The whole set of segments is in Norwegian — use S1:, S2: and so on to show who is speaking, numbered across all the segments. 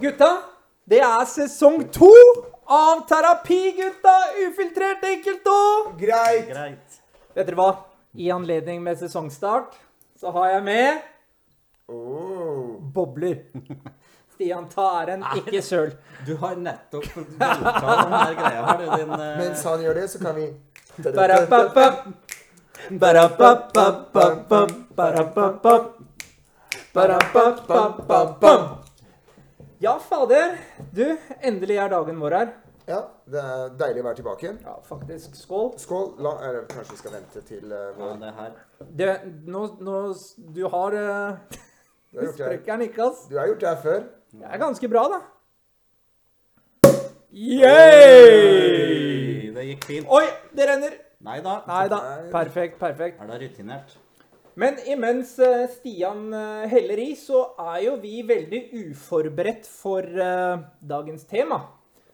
S1: Gutta, det er sesong to av Terapi, gutta! Ufiltrert enkelt og
S2: Greit.
S3: Greit.
S1: Vet dere hva? I anledning med sesongstart så har jeg med
S2: Oh.
S1: bobler. Stian, ta æren, ikke søl.
S3: Du har nettopp godtatt den her greia her, du, din eh,
S2: Mens han gjør det, så kan vi
S1: Barapapap. Barapapapapap. Barapapap. Barapapapapap. Ja, fader. Du, endelig er dagen vår her.
S2: Ja, det er deilig å være tilbake igjen.
S1: Ja, faktisk. Skål.
S2: Skål. La, eller kanskje vi skal vente til eh,
S3: Ja,
S2: vår
S3: det her.
S1: Det, nå, nå Du har uh,
S2: Du har gjort det her,
S1: sprekker den ikke, ass.
S2: du har gjort det her før.
S1: Det er ganske bra, da. Yay!
S3: Oi, Det gikk fint.
S1: Oi, det renner!
S3: Nei da.
S1: Nei da. Perfekt, perfekt.
S3: Er da rutinert.
S1: Men imens eh, Stian eh, heller i, så er jo vi veldig uforberedt for eh, dagens tema.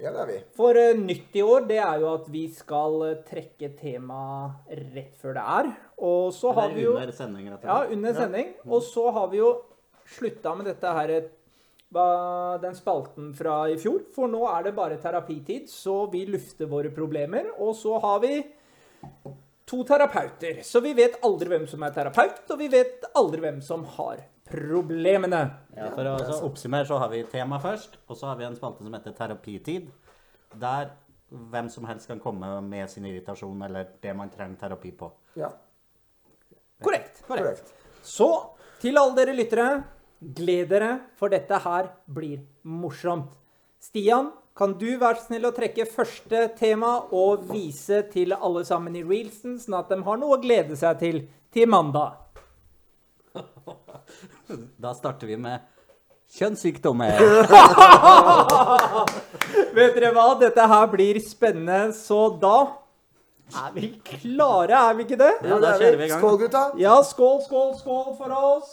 S2: Ja, det er vi.
S1: For eh, nytt i år, det er jo at vi skal eh, trekke temaet rett før det er. Og så
S3: Det
S1: har
S3: er
S1: vi jo
S3: under sending, rett og
S1: Ja,
S3: slett.
S1: under sending. Og så har vi jo slutta med dette her hva- den spalten fra i fjor, for nå er det bare terapitid, så vi lufter våre problemer. Og så har vi to terapeuter, så vi vet aldri hvem som er terapeut, og vi vet aldri hvem som har problemene.
S3: Ja, for å altså, oppsummere så har vi tema først, og så har vi en spalte som heter terapitid, der hvem som helst kan komme med sin irritasjon eller det man trenger terapi på.
S2: Ja,
S1: Korrekt.
S2: korrekt.
S1: Så til alle dere lyttere, gled dere, for dette her blir morsomt. Stian, kan du være snill å trekke første tema og vise til alle sammen i reelsen, sånn at de har noe å glede seg til til mandag?
S3: Da starter vi med kjønnssykdommer.
S1: Vet dere hva, dette her blir spennende, så da er vi klare, er vi ikke det?
S3: Ja, da
S2: det er
S3: kjører vi i gang.
S2: Skål, gutta.
S1: Ja, skål, skål, skål for oss.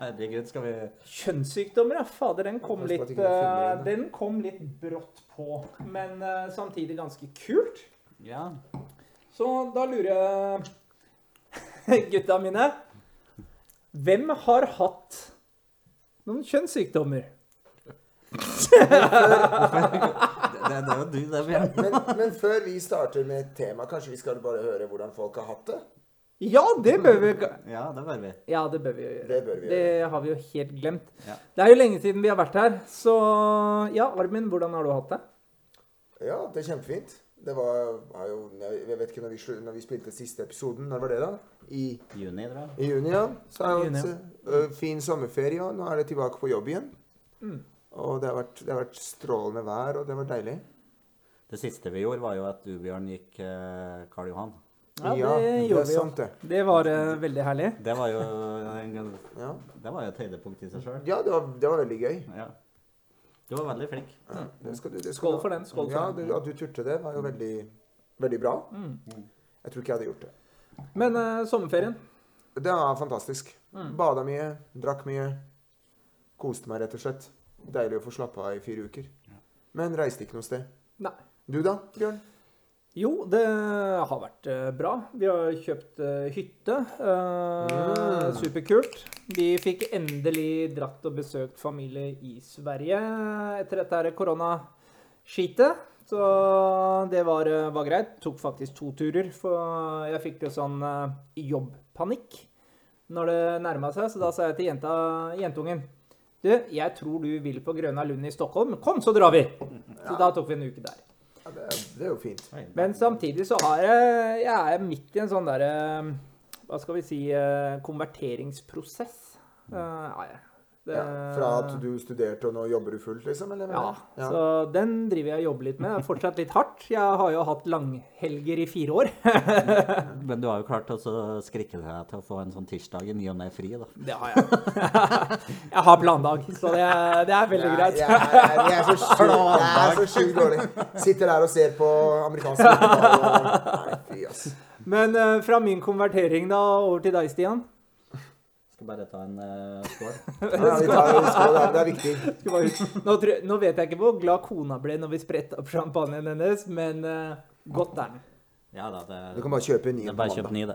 S3: Herregud, skal vi
S1: Kjønnssykdommer, ja. Fader, den kom
S2: Pass på at
S1: litt,
S2: ikke det er
S1: eh,
S2: fullmengde.
S1: den kom litt brått på, men eh, samtidig ganske kult.
S3: Ja.
S1: Så da lurer jeg gutta mine Hvem har hatt noen kjønnssykdommer?
S3: Det, det, det er jo du, det. Bjørn.
S2: Men, men før vi starter med et tema, kanskje vi skal bare høre hvordan folk har hatt det?
S1: Ja, det bør vi ga-
S3: Ja, det bør vi.
S1: Ja, det bør vi jo gjøre.
S2: Det bør vi
S1: har vi jo helt glemt.
S3: Ja.
S1: Det er jo lenge siden vi har vært her, så Ja, Armin, hvordan har du hatt det?
S2: Ja, det er kjempefint. Det var, var jo Jeg vet ikke når vi, slu- når vi spilte siste episoden. Når var det, da? I
S3: Juni, tror jeg.
S2: I juni, ja. Så er
S1: Juni,
S2: det
S1: ja.
S2: en ø, eh, fin sommerferie, og nå er det tilbake på jobb igjen. Og det har, vært, det har vært strålende vær, og det var deilig.
S3: Det siste vi gjorde, var jo at du, Bjørn, gikk eh, Karl Johan.
S1: gjorde
S2: er
S1: vi jo.
S2: sant, det.
S1: Det var eh, veldig herlig.
S3: Det var jo, en,
S2: Ja,
S3: det var jo et høydepunkt i seg sjøl.
S2: ja det, var, det var veldig gøy.
S3: Ja. Du var veldig flink.
S2: Ja, det skal du, det skal
S1: Mm. Skål
S2: du-
S1: for den, skål for
S2: ja,
S1: den. Mm.
S2: Du, at du turte det, var jo veldig, veldig bra. Jeg tror ikke jeg hadde gjort det.
S1: Men eh, sommerferien
S2: Det var fantastisk.
S1: Mm.
S2: Bada mye, drakk mye. Koste meg, rett og slett. Deilig å få slappe av i fire uker. Men reiste ikke noe sted.
S1: Nei.
S2: Du da, Bjørn?
S1: Jo, det har vært eh, bra. Vi har kjøpt eh, hytte. Eh,
S2: Mm.
S1: Superkult. Vi fikk endelig dratt og besøkt familie i Sverige etter dette her koronaskitet. Så det var, eh, var greit. Tok faktisk to turer, for jeg fikk jo sånn eh, jobbpanikk når det nærma seg, så da sa jeg til jenta, jentungen Du, jeg tror du vil på Grøna Lund i Stockholm. Kom, så drar vi! Så da tok vi en uke der.
S2: Ja, det, er- det er jo fint.
S3: Oi, det-
S1: Men samtidig så har jeg Jeg er midt i en sånn derre Hva skal vi si eh, Konverteringsprosess. eh, er jeg. Det-
S2: Ja, fra at du studerte og nå jobber du fullt, liksom? Eller?
S1: ja,
S2: ja.
S1: så den driver jeg og jobber litt med. Det er Fortsatt litt hardt. Jeg har jo hatt langhelger i fire år.
S3: Men du har jo klart å så skrikke deg til å få en sånn tirsdag i ny og ne fri, da.
S1: Det har jeg. Jeg har plandag, så det, det er veldig greit.
S2: Jeg, jeg, jeg er så sjukt- jeg er så sjukt dårlig. Sitter der og ser på amerikansk fotball. og- Nei, fy, ass.
S1: Men eh, fra min konvertering da over til deg, Stian.
S3: Skal bare ta en eh, skål.
S2: Ja, vi tar en skål, det er- det er viktig.
S1: Skal bare- Nå, tror- nå vet jeg ikke hvor glad kona ble når vi spretta opp champagnen hennes, men eh, godt er den.
S3: Ja da, det,
S2: Du kan bare kjøpe en ny
S3: det
S2: en
S3: er
S2: på
S3: bare å kjøpe ny,
S2: mandag.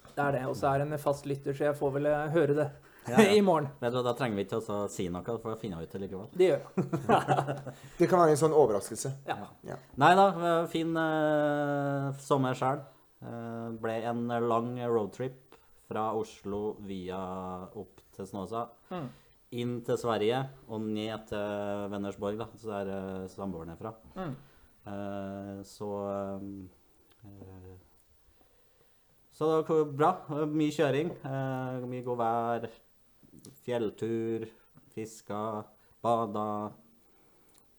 S3: det.
S1: Det er det. Og så er hun en fast lytter, så jeg får vel eh, høre det.
S3: Ja, ja.
S1: i morgen.
S3: Vet du hva, Da trenger vi ikke å si noe, for da finner vi ut det likevel.
S1: Det gjør jeg.
S2: Det kan være en sånn overraskelse.
S1: Ja.
S2: Ja.
S3: Nei da, eh, fin eh, sommer sjøl. Eh, ble en lang roadtrip fra Oslo via opp til Snåsa.
S1: Mm.
S3: Inn til Sverige og ned til Vennersborg, da, så der eh, samboeren er fra.
S1: Mm.
S3: Eh, så eh, eh, Så det var bra. Eh, Mye kjøring. eh, mye god vær. Fjelltur. Fiska. Bada.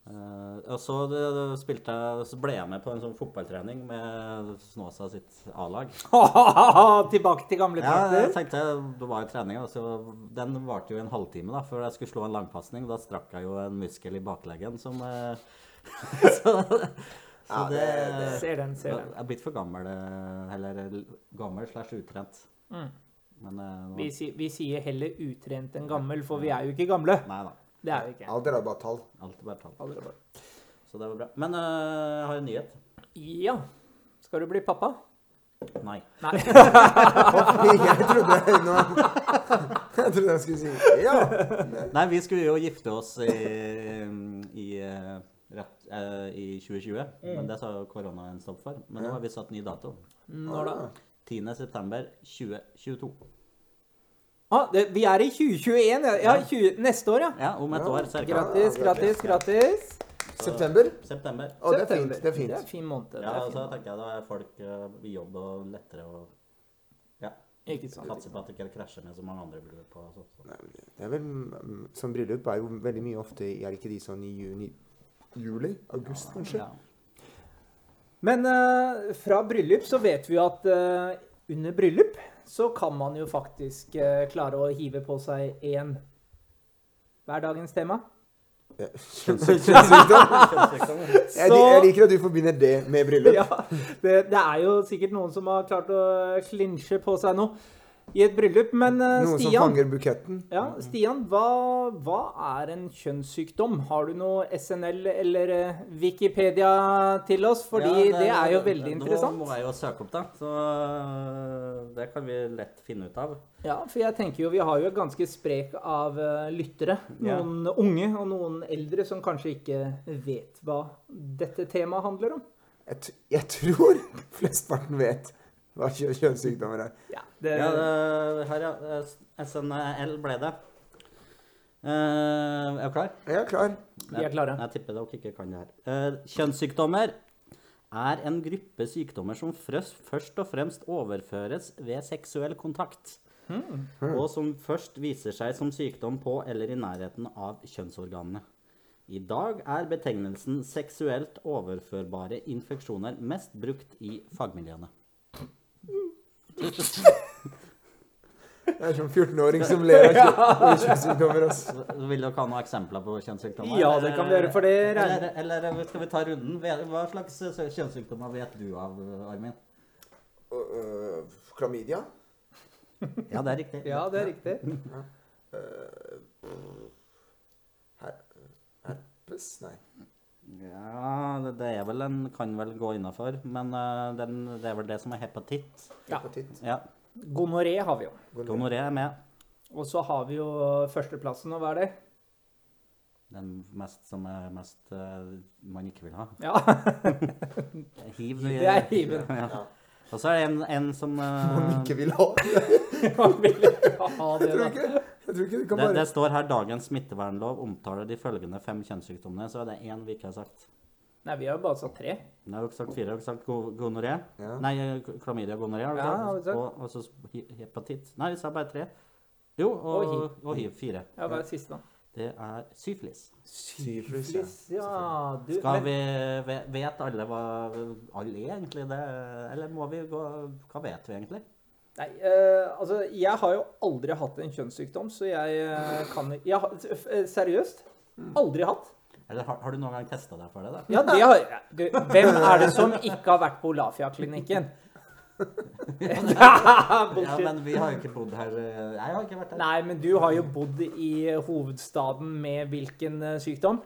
S3: Eh, og så, det, det spilte, jeg- så ble jeg med på en sånn fotballtrening med Snåsa sitt A-lag.
S1: Tilbake til gamle
S3: Ja, jeg
S1: trakter.
S3: tenkte, Det var jo trening, da, så den varte jo en halvtime da, før jeg skulle slå en langpasning. Da strakk jeg jo en muskel i bakleggen som eh, Så, så
S2: Ja, det-
S3: det,
S1: Eh, Ser den, ser
S3: Jeg
S1: den.
S3: er blitt for gammel, eh, eller gammel slash utrent.
S1: Mm.
S3: Men eh, nå-
S1: Vi, si, vi sier heller utrent enn gammel, for vi er jo ikke gamle.
S3: Nei da.
S1: Det er vi ikke.
S2: Alder er bare tall.
S3: Alt er bare tall.
S1: Aldri vært.
S3: Så det var bra. Men eh, jeg har en nyhet.
S1: Ja. Skal du bli pappa?
S3: Nei.
S1: Nei.
S2: Jeg trodde jeg, nå, jeg trodde jeg skulle si ja.
S3: Nei, vi skulle jo gifte oss i, i, eh, rett, eh, i 2020,
S1: Mm.
S3: men det sa jo korona en stopp for. Men nå har vi satt ny dato.
S1: Når da?
S3: 10. september 2022.
S1: Ah, det, vi er i 2021. ja. Ja, 20, neste år, ja.
S3: Ja, om et
S2: Ja,
S3: år cirka.
S1: Gratis, gratis, gratis.
S2: September?
S3: September.
S2: Å, det er
S1: September.
S2: fint. altså, Det er
S1: Det er
S2: fint.
S1: fin måned. Det
S3: Ja,
S1: er
S3: og
S1: fin
S3: så
S1: måned.
S3: tenker jeg da er folk eh, i jobb og lettere å ja,
S1: Ikke sant.
S3: satse på at det ikke krasjer med så mange andre bryllup og sånt. Så.
S2: Det er vel, mm, Som bryllup er jo veldig mye ofte Er ikke de sånn i juni? Juli? August, kanskje?
S3: Ja.
S1: Men eh, fra bryllup så vet vi jo at eh, under bryllup så kan man jo faktisk eh, klare å hive på seg én hverdagens tema.
S2: Kjønnssykdom.
S3: Kjønnssykdommer.
S2: Jeg, lik- jeg liker at du forbinder det med bryllup.
S1: ja, det, det er jo sikkert noen som har klart å klinsje på seg noe i et bryllup, men eh,
S2: Noen som
S1: Stian
S2: fanger buketten.
S1: ja, Stian, hva, hva er en kjønnssykdom? Har du noe SNL eller eh, Wikipedia til oss? Fordi
S3: Ja,
S1: det, er jo veldig
S3: Nå
S1: interessant.
S3: må jeg jo søke opp, da. Så øh, det kan vi lett finne ut av.
S1: Ja, for jeg tenker jo vi har jo et ganske sprek av eh, lyttere.
S3: Ja.
S1: Noen unge og noen eldre som kanskje ikke vet hva dette temaet handler om.
S2: Jeg, t jeg tror flestparten vet hva kjø- kjønnssykdommer er.
S1: Ja, det,
S3: Ja, det, her, ja. SNL ble det. Eh, er du klar?
S2: Jeg er klar.
S1: Vi er klare.
S3: Jeg, jeg tipper dere ikke kan det her. Eh, kjønnssykdommer er en gruppe sykdommer som frøs, først og fremst overføres ved seksuell kontakt.
S1: Hmm.
S3: Og som først viser seg som sykdom på eller i nærheten av kjønnsorganene. I dag er betegnelsen seksuelt overførbare infeksjoner mest brukt i fagmiljøene.
S2: Jeg er som 14-åring som ler av kjø- kjønnssykdommer. ass.
S3: Så Vil dere ha noen eksempler på kjønnssykdommer?
S1: Ja, det kan vi gjøre, for det
S3: eller,
S1: regner-
S3: eller skal vi ta runden? Hva slags eh, kjønnssykdommer vet du av, Armin?
S2: Og, øh, Klamydia?
S3: Ja, det er riktig.
S1: ja, det er riktig.
S2: Øh, Her øh, herpes? Nei.
S3: Ja, det, det er vel en Kan vel gå innafor, men eh, den, det er vel det som er hepatitt.
S1: Ja.
S2: Hepatitt?
S3: Ja.
S1: Gonoré har vi jo.
S3: Gonoré er med.
S1: Og så har vi jo førsteplassen, og hva er det?
S3: Den mest som er mest eh, man ikke vil ha.
S1: Ja,
S3: Hiv.
S1: Det er hiven.
S3: Ja. Og så er det en, en som eh,
S2: Om ikke vil ha det.
S1: man vil ikke ha det,
S2: Jeg tror
S1: da.
S2: ikke, jeg tror ikke du kan
S3: det, det
S2: bare
S3: står her dagens smittevernlov omtaler de følgende fem kjønnssykdommene, så er det én vi ikke har sagt.
S1: Nei, vi har jo bare satt tre.
S3: Nei, har dere sagt fire? Har dere sagt go- gonoré?
S2: Ja.
S3: Nei, eh, k- klamydia og gonoré. Har dere
S1: Ja,
S3: sagt?
S1: har vi sagt.
S3: Og, og så sp- hi- hepatitt. Nei, vi sa bare tre. Jo, og, og,
S1: Og
S3: hiv. Fire.
S1: Ja, hva er siste, da?
S3: Det er syflis.
S2: Syflis, ja.
S1: Syflis, ja. Du, men,
S3: Skal vi ve- Vet alle hva alle er, egentlig? Det, eller må vi gå Hva vet vi egentlig?
S1: nei, eh, altså, jeg har jo aldri hatt en kjønnssykdom, så jeg eh, kan ikke jeg, har- s- eh, Seriøst? Aldri hatt.
S3: Eller har, har du noen gang testa deg for det? da?
S1: Ja, det har jeg. Du, hvem er det som ikke har vært på Olafia-klinikken?
S3: Ja,
S1: Bullshit.
S3: men vi har jo ikke bodd her eh, Jeg har ikke vært her.
S1: Nei, men du har jo bodd i hovedstaden med hvilken eh, sykdom?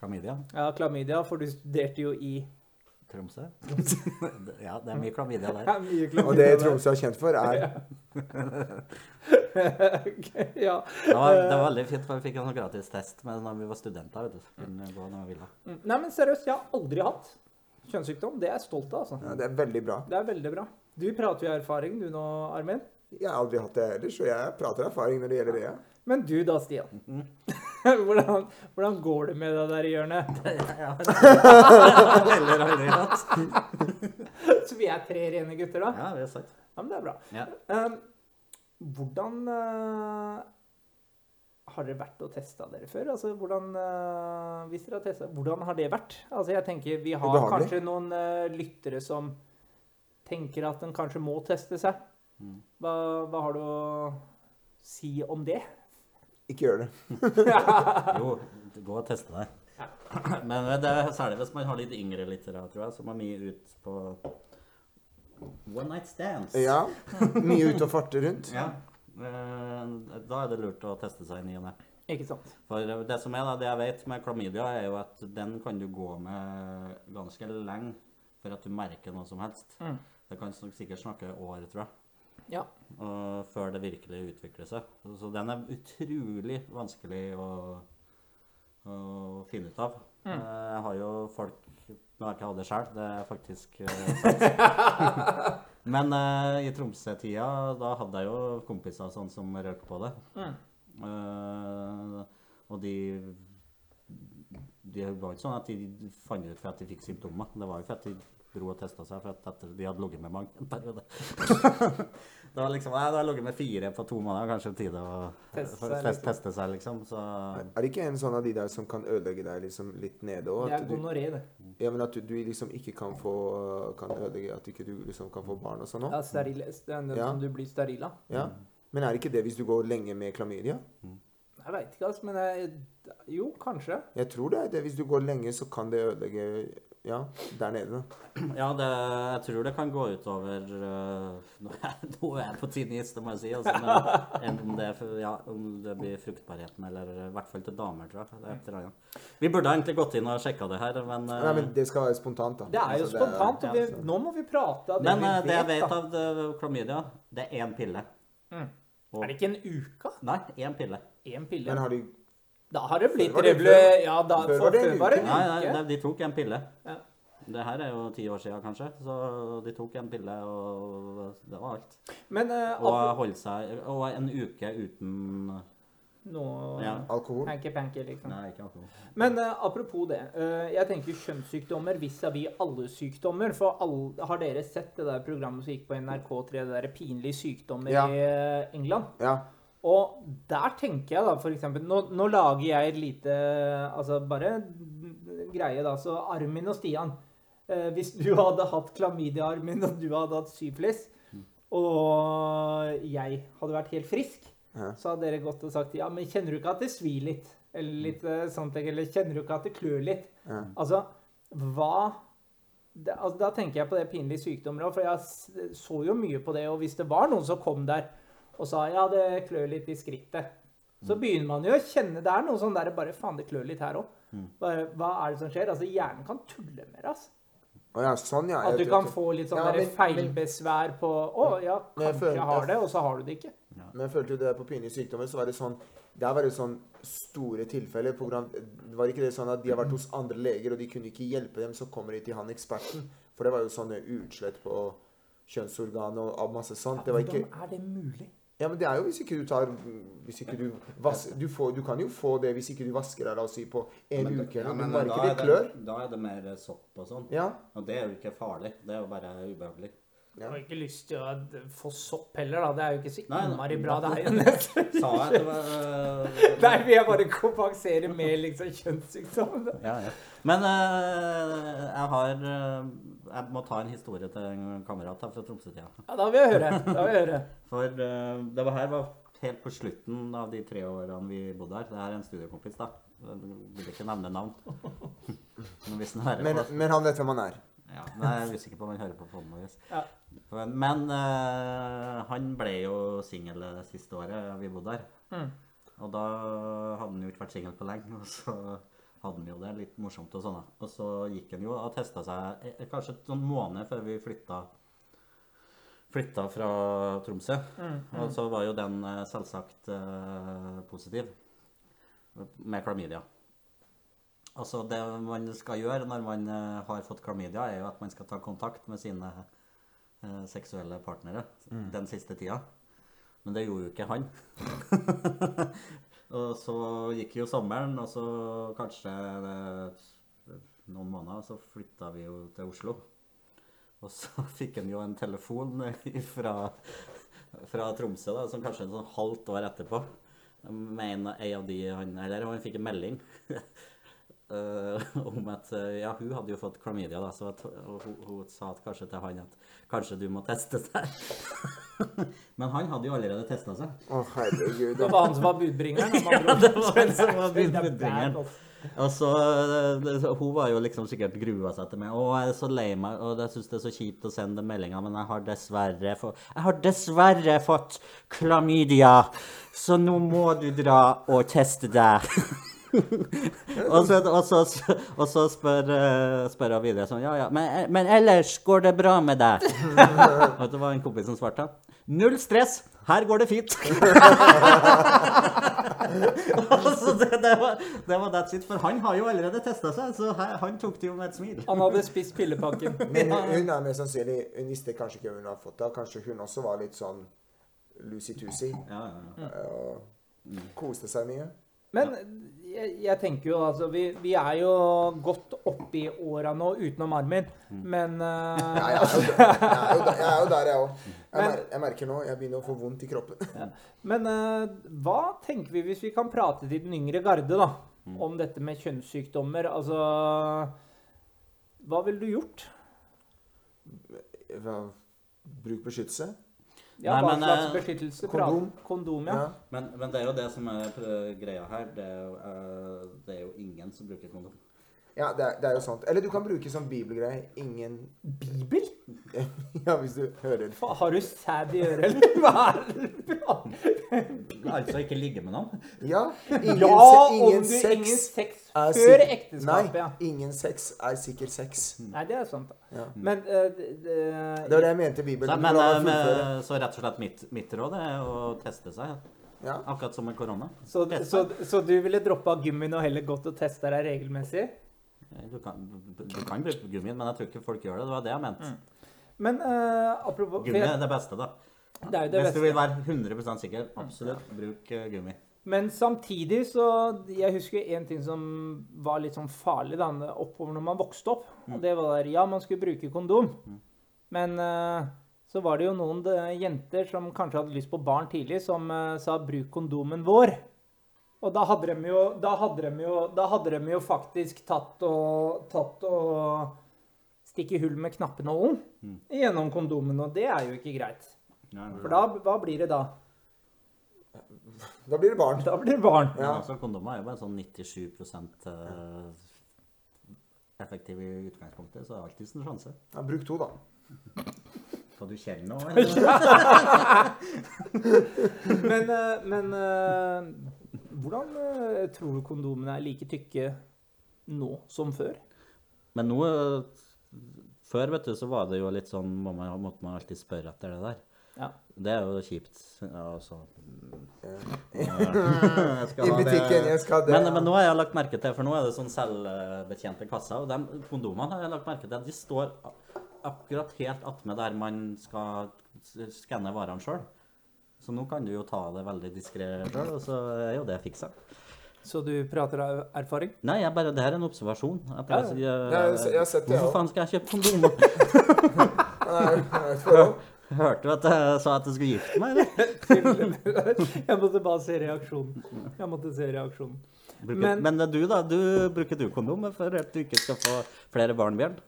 S3: Klamydia.
S1: Ja, klamydia, for du studerte jo i
S3: Tromsø. ja, det er mye klamydia der.
S1: mye
S2: Og det Tromsø er kjent for, er
S1: Ok, ja.
S3: Det var, det var veldig fint, for vi fikk en sånn gratis test men da vi var studenter. vet du, så kunne vi gå når vi ville.
S1: Mm. Nei, men seriøst, jeg har aldri hatt kjønnssykdom. Det er jeg stolt av, altså.
S2: Ja, det er veldig bra.
S1: Det er veldig bra. Du prater jo erfaring, du nå, Armin.
S2: Jeg har aldri hatt det heller, så jeg prater erfaring når det gjelder det. ja.
S1: Men du da, Stian. hvordan, hvordan går det med deg der i hjørnet?
S3: Heller aldri hatt.
S1: Så vi er tre rene gutter, da?
S3: Ja, det er sant.
S1: Ja, men det er bra.
S3: Ja.
S1: Um, hvordan eh, har dere vært og testa dere før? Altså, hvordan, eh, hvis dere har testet, hvordan har det vært? Altså, jeg tenker Vi har
S2: Ubehagelig.
S1: kanskje noen eh, lyttere som tenker at en kanskje må teste seg. Hva, hva har du å si om det?
S2: Ikke gjør det.
S3: Jo, gå og teste deg. Men det er særlig hvis man har litt yngre litterære, tror jeg, som er mye ut på One night stands.
S2: Ja. Mye ute og farte rundt.
S3: Ja. Eh, Da er det lurt å teste seg i ny og ne.
S1: Ikke sant?
S3: For det som er da, det jeg vet med klamydia, er jo at den kan du gå med ganske lenge for at du merker noe som helst.
S1: Mm.
S3: Det kan nok sikkert snakke år, tror jeg,
S1: Ja.
S3: og før det virkelig utvikler seg. Så den er utrolig vanskelig å, å finne ut av.
S1: Mm.
S3: Eh, Jeg har jo folk Nå har jeg ikke hatt det sjøl, det er faktisk eh, sant. Men eh, i Tromsø-tida, da hadde jeg jo kompiser og sånn som røk på det.
S1: Mm.
S3: Eh, og de Det var ikke sånn at de fant ut for at de fikk symptomer. Det var jo for at de dro og testa seg for at etter de hadde ligget med mange en periode. det var liksom Nei, da har jeg ligget med fire på to måneder. Kanskje på tide å
S1: Teste seg
S3: teste,
S1: litt.
S3: teste seg, liksom. Så
S2: Er det ikke en sånn av de der som kan ødelegge deg liksom litt nede òg?
S1: Det er gonoré, det.
S2: Ja, men at du, du liksom ikke kan få Kan ødelegge At ikke du liksom kan få barn og sånn òg?
S1: Ja, steril, det er den
S2: Ja.
S1: som du blir steril av.
S2: Ja. Men er det ikke det hvis du går lenge med klamydia?
S1: Jeg veit ikke, altså, men jeg, jo, kanskje.
S2: Jeg tror det er det. Hvis du går lenge, så kan det ødelegge Ja, der nede, da.
S3: ja, det, jeg tror det kan gå utover uh, nå, er, nå er jeg på tynn is, det må jeg si. Altså, men, en- om, det, er for- ja, om det blir fruktbarheten, eller i hvert fall til damer, tror jeg. Det er et eller annet. Vi burde egentlig gått inn og sjekka det her, men eh,
S2: Nei, men det skal være spontant, da.
S1: Det er jo
S2: Altså, det er-
S1: spontant. Og vi,
S3: ja, så-
S1: nå må vi prate av det
S3: Men
S1: vi
S3: eh,
S1: vet.
S3: det jeg vet
S1: da.
S3: av det- klamydia, det er én pille.
S1: Mm.
S3: Og-
S1: Er det ikke en uke?
S3: Nei, én pille.
S1: Én pille?
S2: Men har de
S1: Da har det blitt
S2: Før var det
S1: revle...
S2: før.
S1: Ja, da,
S2: Før
S1: for
S2: var det
S1: før
S2: en
S1: var det
S2: uke.
S3: Nei,
S1: en
S3: nei,
S1: uke.
S3: nei, de tok én pille.
S1: Ja.
S3: Det her er jo ti år siden, kanskje. Så de tok én pille, og det var alt.
S1: Men eh,
S3: Og
S1: apro-
S3: holdt seg Og en uke uten
S1: Nå
S3: Ja.
S2: alkohol?
S1: Hanky-panky, liksom.
S3: Nei, ikke alkohol.
S1: Men eh, apropos det. eh, jeg tenker kjønnssykdommer vis-à-vis alle sykdommer. For all, har dere sett det der programmet som gikk på NRK3, det der pinlige sykdommer
S2: Ja.
S1: i eh, England?
S2: Ja.
S1: Og der tenker jeg da, for eksempel, nå, nå lager jeg et lite, altså bare en greie da, så Armin og Stian, eh, hvis du hadde hatt klamydia, Armin, og du hadde hatt syfilis, og jeg hadde vært helt frisk,
S2: Ja.
S1: så hadde dere gått og sagt, ja, men kjenner du ikke at det svir litt? Eller litt eh, sånt, eller kjenner du ikke at det klør litt?
S2: Mm. Ja.
S1: Altså, hva det, altså, Da tenker jeg på det pinlige sykdommer òg, for jeg s- så jo mye på det. Og hvis det var noen som kom der og sa ja, det klør litt i skrittet,
S2: Mm.
S1: så begynner man jo å kjenne Det er noe sånn der bare faen, det klør litt her òg.
S2: Mm.
S1: Hva er det som skjer? Altså, hjernen kan tulle mer, altså.
S2: Å ja, sånn, ja.
S1: At
S2: Jeg
S1: du
S2: tror
S1: kan
S2: ikke-
S1: få litt sånn
S2: Ja,
S1: der
S2: men-
S1: feilbesvær på Å ja,
S2: Men jeg
S1: kanskje
S2: føler-
S1: jeg har det, og så har du det ikke.
S2: Men jeg følte jo det der på pinlige sykdommer, så var det sånn Der var det sånn store tilfeller. På grunn, det var ikke det sånn at de har vært hos andre leger, og de kunne ikke hjelpe dem, så kommer de til han eksperten. For det var jo sånne utslett på kjønnsorgan og av masse sånt. Det var ikke
S1: Hvordan er det mulig?
S2: Ja, men det er jo hvis ikke du tar Hvis ikke du vas, du, får, du kan jo få det hvis ikke du vasker deg, la oss si, på en
S3: Men-
S2: uke
S3: ja,
S2: eller noe.
S3: men
S2: Du merker
S3: da
S2: det
S3: er
S2: klør.
S3: Da er det mer sopp og sånn.
S2: Ja.
S3: Og det er jo ikke farlig. Det er jo bare ubehagelig.
S2: Ja.
S1: Jeg har ikke lyst til å få sopp heller, da. Det er jo ikke så
S3: Nei, nei.
S1: innmari bra. Det er jo nesten
S3: Sa jeg at det var øh,
S1: Nei, vil jeg bare kompensere med liksom kjønnssykdom.
S3: Ja, ja. Men eh, jeg har eh, Jeg må ta en historie til en kamerat her fra Tromsø-tida.
S1: Ja, da vil jeg høre. Da vil jeg høre.
S3: For eh, det var her var helt på slutten av de tre årene vi bodde her. Det her er en studiekompis, da. Jeg vil ikke nevne navn. Men hvis han hører
S2: Men,
S3: på
S2: men han vet hvem han er.
S3: ja, Nei, jeg er usikker på om han hører på podden vår.
S1: Ja.
S3: For- Men eh, han ble jo singel det siste året vi bodde her.
S1: Mm.
S3: Og da hadde han jo ikke vært singel på lenge, og så hadde han jo det litt morsomt og sånn. da. Og eh, sånn så gikk han jo og testa seg eh, kanskje noen måneder før vi flytta flytta fra Tromsø.
S1: Mm,
S3: Og så var jo den eh, selvsagt eh, positiv med klamydia. Altså Det man skal gjøre når man eh, har fått klamydia, er jo at man skal ta kontakt med sine eh, seksuelle partnere den siste tida. Men det gjorde jo ikke han. og så gikk jo sommeren, og så kanskje eh, noen måneder, så flytta vi jo til Oslo. Og så fikk han jo en telefon fra, fra Tromsø, da, som kanskje en sånn halvt år etterpå. Med en, en av de han Eller han fikk en melding eh, om at eh, Ja, hun hadde jo fått klamydia, da, så at, og hun, hun sa at kanskje til han at kanskje du må teste deg. Men han hadde jo allerede testa seg.
S2: Å, herregud.
S1: Det var han som var budbringeren. da, med andre ord.
S3: Ja, det var han som var
S1: Det er bad altså.
S3: budbringeren.
S1: off.
S3: Og så, eh, det- så Hun var jo liksom sikkert grua seg til meg. Å, jeg er så lei meg, og jeg syns det er så kjipt å sende den meldinga, men jeg har dessverre fått Jeg har dessverre fått klamydia, så nå må du dra og teste deg. og, så, og, så, og så spør, eh, spør hun videre sånn Ja, ja, men, men ellers går det bra med deg? og det var en kompis som svarte. Null stress. Her går det fint. altså, det, det, var, det var that's it. For han har jo allerede testa seg, så her, han tok det jo med et smil.
S1: Han hadde spist pillepakken.
S2: Men hun, hun er mest sannsynlig Hun visste kanskje ikke hun hadde fått det. Kanskje hun også var litt sånn lucy-tucy
S3: Ja, ja, ja.
S2: og koste seg mye.
S1: Men jeg, jeg tenker jo altså vi, vi er jo godt oppi åra nå utenom Armin,
S2: Mm.
S1: men eh,
S2: Jeg er jo der, jeg er jo der, jeg, er jo der, jeg, også. jeg, mer, jeg merker nå jeg begynner å få vondt i kroppen.
S1: Men eh, hva tenker vi hvis vi kan prate til den yngre garde, da?
S2: Mm.
S1: Om dette med kjønnssykdommer. Altså Hva ville du gjort?
S2: Hva- Bruk beskyttelse.
S1: Ja,
S3: Nei,
S1: hva
S3: men,
S1: slags
S3: eh,
S1: beskyttelse?
S2: kondom.
S1: Prat- Kondom, ja.
S2: Ja.
S3: Men, men det er jo det som er eh, greia her. Det er jo, eh, det er jo ingen som bruker kondom.
S2: Ja, det er, det er jo sant. Eller du kan bruke sånn bibelgreie. Ingen
S1: Bibel?
S2: Ja, hvis du hører det.
S1: Fa- Har du sæd i øret, eller? Hva er det du prater
S3: Altså ikke ligge med noen.
S2: Ja, ingen,
S1: Ja,
S2: se-
S1: om
S2: ingen
S1: du
S2: sex
S1: ingen sex
S2: er
S1: før
S2: sikker-
S1: ekteskapet,
S2: Nei,
S1: ja. Mm.
S2: ingen sex er sikker sex.
S1: Nei, det er sant. da.
S2: Ja.
S1: Men eh, det, det-
S2: Det var det jeg mente i
S3: Så,
S2: Bibelen.
S3: men,
S2: La meg
S3: eh,
S2: fullføre.
S3: men, så rett og slett mitt, mitt råd er å teste seg.
S2: Ja.
S3: Akkurat som med korona.
S1: Så, så, så du ville droppa gummien og heller gått og testa deg regelmessig?
S3: Eh, Du kan, du kan bruke gummien, men jeg tror ikke folk gjør det. Det var det jeg mente.
S1: Men eh, apropos for
S3: Gummi er
S1: jeg-
S3: det beste, da.
S1: Det er jo det
S3: Hvis du
S1: beste.
S3: vil være 100 sikker, absolutt bruk eh, gummi.
S1: Men samtidig så Jeg husker en ting som var litt sånn farlig da, oppover når man vokste opp. Og det var der Ja, man skulle bruke kondom. Men eh, så var det jo noen eh, jenter som kanskje hadde lyst på barn tidlig, som eh, sa 'bruk kondomen vår'. Og da hadde de jo, da hadde de jo, da hadde de jo faktisk tatt og, tatt og stikke hull med knappenålen gjennom kondomen, og det er jo ikke greit. For da, hva blir det da?
S2: Da blir det barn.
S1: Da blir det barn.
S3: Men
S2: Ja.
S3: altså, kondomer er jo bare sånn 97 eh, effektive i utgangspunktet, så det er alltid en sjanse.
S2: Ja, bruk to, da.
S3: Skal du kjenne noe? eller?
S1: Men, eh, men eh, hvordan eh, tror du kondomene er like tykke nå som før?
S3: Men nå eh, Før, vet du, så var det jo litt sånn må man, Måtte man alltid spørre etter det der.
S1: Ja.
S3: Det er jo kjipt. Ja, altså.
S2: I butikken. Jeg skal ha det.
S3: Men, men nå har jeg lagt merke til, for nå er det sånn selvbetjente kasser, og de kondomene har jeg lagt merke til, de står a- akkurat helt attmed der man skal s- skanne varene sjøl. Så nå kan du jo ta det veldig diskré sjøl, og så er jo det fiksa.
S1: Så du prater av erfaring?
S3: Nei, jeg bare, det her er en observasjon. At
S1: Ja,
S3: jeg,
S1: ja.
S3: sier,
S2: Ja, jeg har se- jeg har sett det, jeg
S3: eh, Hvorfor
S2: også.
S3: faen skal jeg kjøpe kondomer?
S2: Han er- han er et forhold.
S3: Hørte du at jeg sa at jeg skulle gifte meg, eller?
S1: Jeg måtte bare se reaksjonen. Jeg måtte se reaksjonen.
S3: Bruker,
S1: Men-
S3: men, eh, du, da? Du, bruker du kondom for at du ikke skal få flere barn, Bjørn?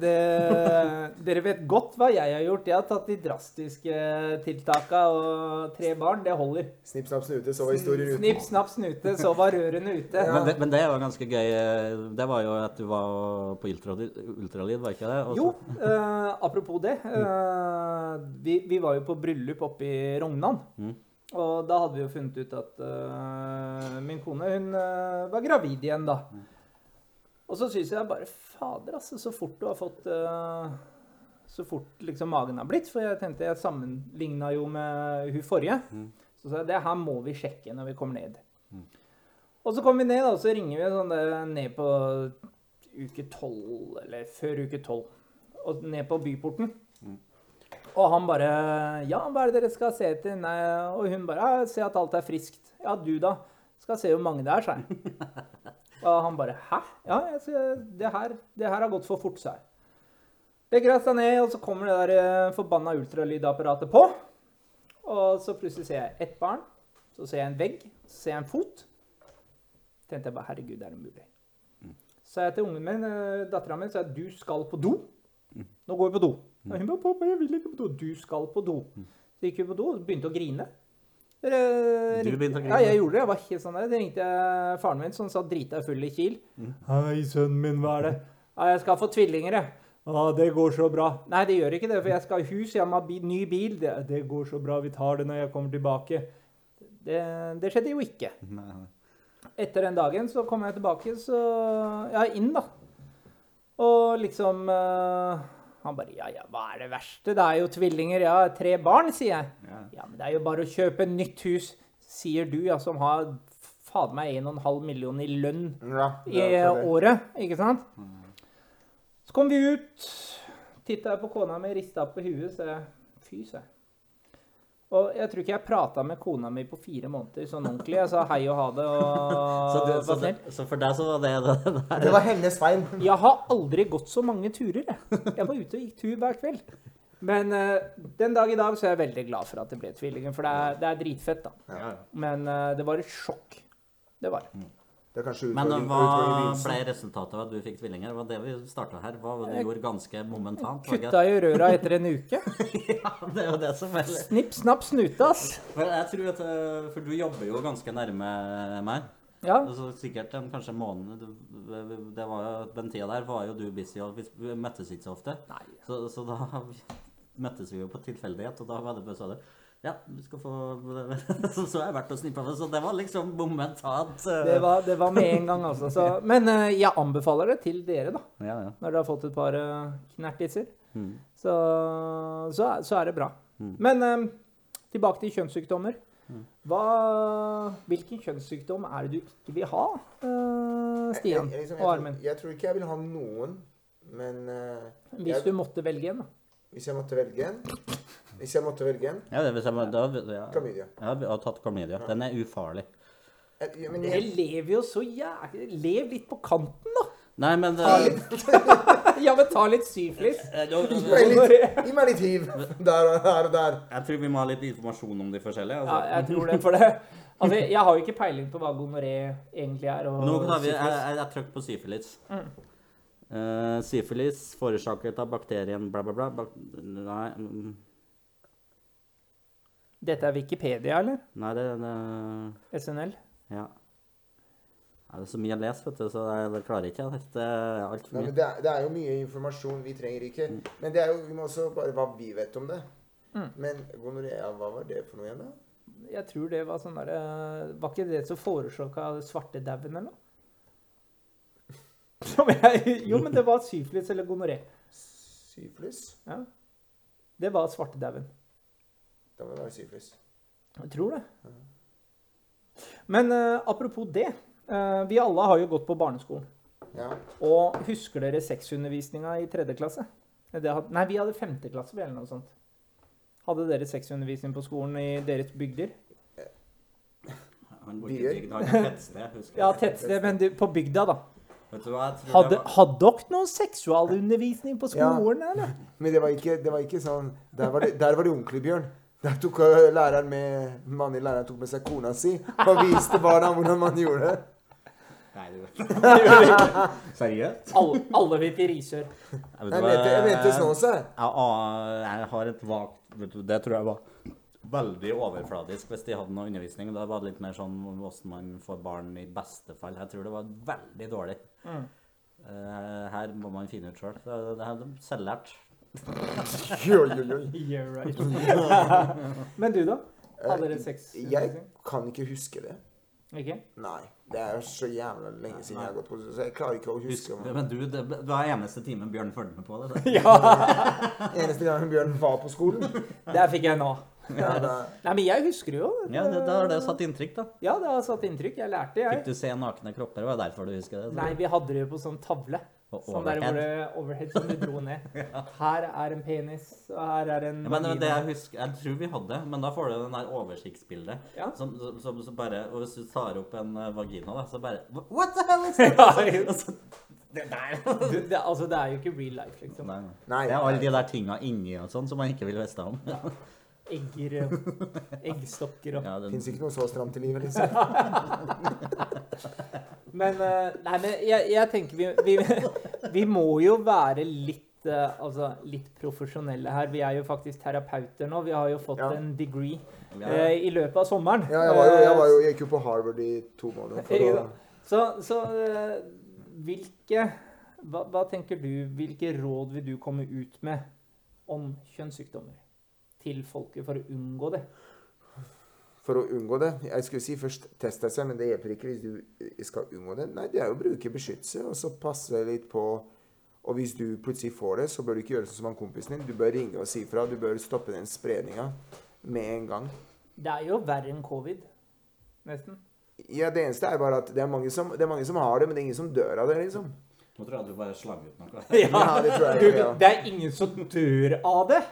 S1: Det, dere vet godt hva jeg har gjort. Jeg har tatt de drastiske tiltaka, og tre barn, det holder.
S2: Snipp, snapp, snute, så var historien ute.
S1: Snipp, snapp, snute, så var rørene ute.
S3: Men det, men det var ganske gøy. eh, Det var jo at du var på ultralyd, ultralyd var ikke det? Og så-
S1: Jo, eh, apropos det. eh, vi, vi var jo på bryllup oppe i Rognan. Og da hadde vi jo funnet ut at eh, min kone hun eh, var gravid igjen, da. Og så syns jeg bare Fader, altså. Så fort du har fått eh, så fort liksom magen har blitt. For jeg tenkte jeg sammenligna jo med hun forrige. Så sa jeg det her må vi sjekke når vi kommer ned. Og så kommer vi ned, da, og så ringer vi sånn der, ned på uke 12, eller før uke 12. Og ned på byporten. Og han bare 'Ja, hva er det dere skal se etter?' Nei, og hun bare ja, 'Se at alt er friskt'. 'Ja, du da?' 'Skal se hvor mange det er', sa jeg. Og han bare 'Hæ?' 'Ja, jeg ser, det, her, det her har gått for fort', sa jeg. Legger jeg seg ned, og så kommer det der eh, forbanna ultralydapparatet på. Og så plutselig ser jeg ett barn, så ser jeg en vegg, så ser jeg en fot. Tenkte jeg bare 'Herregud, er det mulig?'
S3: Mm.
S1: Så jeg til ungen min, eh, datteren min, sa jeg 'Du skal på do'.
S3: Mm.
S1: Nå går vi på do. Og hun bare, pappa, jeg vil ikke på do. Du skal på do.
S3: Mm.
S1: Så gikk vi på do og begynte å grine. Dere-
S3: Du begynte å grine?
S1: Ja, jeg gjorde det. Jeg var helt sånn der. Da ringte jeg faren min, som satt drita full i Kiel.
S3: Mm.
S1: Hei, sønnen min, hva er det? Ja, jeg skal få tvillinger, jeg. Ja, det går så bra. Nei, det gjør ikke det, for jeg skal i hus, jeg må ha bi ny bil. Det, det går så bra, vi tar det når jeg kommer tilbake. Det, det skjedde jo ikke. Etter den dagen så kom jeg tilbake, så Ja, inn, da. Og liksom eh, Han bare Ja, ja, hva er det verste? Det er jo tvillinger. Ja, tre barn, sier jeg.
S3: Ja.
S1: Ja, men det er jo bare å kjøpe nytt hus, sier du, ja, som har fader meg 1,5 million i lønn
S2: Ja,
S1: i
S2: det er for det.
S1: året, ikke sant?
S3: Mm.
S1: Så kom vi ut, titta jeg på kona mi, rista på huet, så jeg Fy, sa jeg. Og jeg tror ikke jeg prata med kona mi på fire måneder sånn ordentlig. Jeg sa hei og ha det og
S3: Så, du, så,
S1: var snill.
S3: så for deg så var det det der.
S2: Det var hennes feil.
S1: Jeg har aldri gått så mange turer. Jeg, jeg var ute og gikk tur hver kveld. Men eh, den dag i dag så er jeg veldig glad for at det ble tvillingen, for det er, det er dritfett, da.
S3: Ja. Mm.
S1: Men eh, det var et sjokk. Det var det.
S2: Det er kanskje
S3: Men
S2: utfordring-
S3: hva
S2: utfordringen i begynnelsen.
S3: ble resultatet av at du fikk tvillinger? Var det vi starta her? Hva var det du gjorde ganske momentant? var det ikke?
S1: Kutta i røra etter en uke.
S3: Ja, det er jo det som er
S1: Snipp, snapp, snute, ass.
S3: For jeg tror at øh, For du jobber jo ganske nærme meg.
S1: Ja.
S3: Altså, sikkert en kanskje måned du- det var jo, Den tida der var jo du busy, og vi vi møttes ikke så ofte.
S1: Nei.
S3: Så, så da møttes vi jo på tilfeldighet, og da var det bare sånn Ja, du skal få Så så jeg vært og snippa, så det var liksom momentant. øh,
S1: Det var, det var med en gang, altså. Så, men eh, jeg anbefaler det til dere, da.
S3: Ja, ja.
S1: Når dere har fått et par eh, knertiser. Så, så, er- så er det bra. Men eh, tilbake til kjønnssykdommer. Hva, hvilken kjønnssykdom er det du ikke vil ha, eh, Stian
S2: Jeg- jeg- liksom, jeg
S1: og
S2: tror-
S1: Armen?
S2: Jeg tror ikke jeg vil ha noen, men eh,
S1: Hvis
S2: jeg,
S1: du måtte velge en, da.
S2: hvis jeg måtte velge en Hvis jeg måtte velge en
S3: ja det, hvis jeg, må- da, ja.
S2: Klamydia.
S3: Ja, jeg har tatt klamydia. Den er ufarlig.
S2: Jeg, jeg, eh, men
S1: Dere
S2: jeg,
S1: lever jo så jævlig Lev litt på kanten, da!
S3: Nei, men eh, det,
S1: Ja, men ta litt syflis.
S3: Eh, nå-
S2: gi meg litt- gi meg litt hiv der og der og der.
S3: Jeg tror vi må ha litt informasjon om de forskjellige.
S1: Ja,
S3: Altså.
S1: jeg tror det, for det Altså, jeg har jo ikke peiling på hva gonoré egentlig er. Og
S3: Nå tar vi, jeg,
S1: syfilis. Mm.
S3: jeg, jeg trykk på syfilis. Eh, syfilis forårsaket av bakterien bla, bla, bla. Bak nei, mm,
S1: Dette er Wikipedia, eller?
S3: nei, det, eh, det
S1: SNL?
S3: Ja. Nei, Det er så mye jeg leser, vet du, så jeg, det klarer ikke jeg. Det er altfor
S2: Nei, men
S3: mye.
S2: det, er, det er jo mye informasjon vi trenger ikke.
S3: Mm.
S2: Men det er jo, vi må også bare hva vi vet om det. Men gonorrea, hva var det for noe igjen, da?
S1: Jeg tror det var sånn der eh, Var ikke det som forårsaka svartedauden, eller noe? Som jeg, jo, men det var syfilis eller gonoré.
S2: Syflis?
S1: Ja. Det var svartedauden.
S2: Da må det være syflis.
S1: Jeg tror det. Men eh, apropos det. eh, vi alle har jo gått på barneskolen.
S2: Ja.
S1: Og husker dere sexundervisninga i tredje klasse? Det had, nei, vi hadde femte klasse, vi, eller noe sånt. Hadde dere sexundervisning på skolen i deres bygder?
S3: Han bor
S2: Byer?
S3: ikke i bygd, han er i tettsted, husker
S1: Ja,
S3: jeg.
S1: tettsted, men du, på bygda, da.
S3: Vet du hva, jeg tror
S1: Hadde,
S3: det var-
S1: hadde dere noe seksualundervisning på
S2: Ja.
S1: skolen, eller?
S2: Men det var ikke, det var ikke sånn Der var det, der var det ordentlig, Bjørn. Der tok øh, læreren med, mannen i læreren tok med seg kona si og viste barna hvordan man gjorde det.
S3: Nei, du Seriøst?
S1: Alle, alle vil til Risør.
S3: Jeg,
S2: Jeg mente, jeg mente sånn også. jeg.
S3: eh, Jeg, a- jeg har et vagt vet du, Det tror jeg var veldig overfladisk hvis de hadde noe undervisning. Da var det litt mer sånn hvordan man får barn i beste fall. Jeg tror det var veldig dårlig.
S1: Mm.
S3: Eh, her må man finne ut sjøl. Det det er selvlært.
S2: Jo, jo, jo.
S1: You're right. Men du, da? Hadde dere
S2: Jeg
S1: sexundervisning?
S2: kan ikke huske det.
S1: Ikke?
S2: Nei. Det er jo så jævla lenge siden jeg har gått på så jeg klarer ikke å
S3: Husk,
S2: huske.
S3: men du, det, det var eneste time Bjørn fulgte med på det. det.
S2: Eneste gang Bjørn var på skolen.
S1: Der fikk jeg nå.
S2: Ja, da,
S1: Nei, men jeg husker jo.
S3: Ja, det, Da har det satt inntrykk, da.
S1: Ja, det har satt inntrykk. Jeg lærte,
S3: Fikk
S1: jeg.
S3: du se nakne kropper? Var det derfor du husker det?
S1: Nei, vi hadde det jo på sånn tavle.
S3: Og
S1: Sånn der hvor
S3: overhead.
S1: det overhead som du dro ned. Her er en penis, og her er en
S3: Ja, men det
S1: vagina.
S3: jeg, husker, jeg tror vi hadde, men da får du den der oversiktsbildet.
S1: Ja.
S3: Som, som, som, som bare, og Hvis du tar opp en eh, vagina, da, så bare What the hell is that?
S1: Ja,
S3: Og så- Altså, det der!
S1: Du, det, altså, det er jo ikke real life, liksom.
S3: Nei,
S2: Nei,
S3: det er alle de der tinga inni og sånn som man ikke vil vite om.
S1: Egger, og eggstokker og
S3: Ja, den,
S2: Fins ikke noe så stramt i livet, liksom.
S1: Men eh, Nei, men jeg, jeg tenker vi, vi, vi må jo være litt eh, altså litt profesjonelle her. Vi er jo faktisk terapeuter nå. Vi har jo fått
S2: Ja.
S1: en degree
S3: Ja.
S1: eh, i løpet av sommeren.
S2: Ja, jeg, var jo, jeg, var jo,
S1: Eh,
S2: jeg gikk jo på Harvard i to måneder. For
S1: Ikke
S2: å,
S1: sant? Så, så eh, hvilke hva, hva tenker du Hvilke råd vil du komme ut med om kjønnssykdommer til folket for å unngå det?
S2: for å unngå det Jeg skulle si først test deg selv, men det hjelper ikke hvis du eh, skal unngå det. Nei, det er jo å bruke beskyttelse, og så passe litt på Og hvis du plutselig får det, så bør du ikke gjøre sånn som han kompisen din. Du bør ringe og si fra. Du bør stoppe den spredninga med en gang.
S1: Det er jo verre enn covid, nesten.
S2: Ja, det eneste er bare at det er mange som, det er mange som har det, men det er ingen som dør av det, liksom.
S3: Nå tror jeg du bare slang ut noe.
S2: Ja, det tror
S1: Du,
S2: jeg ja.
S1: det er ingen som dør av det.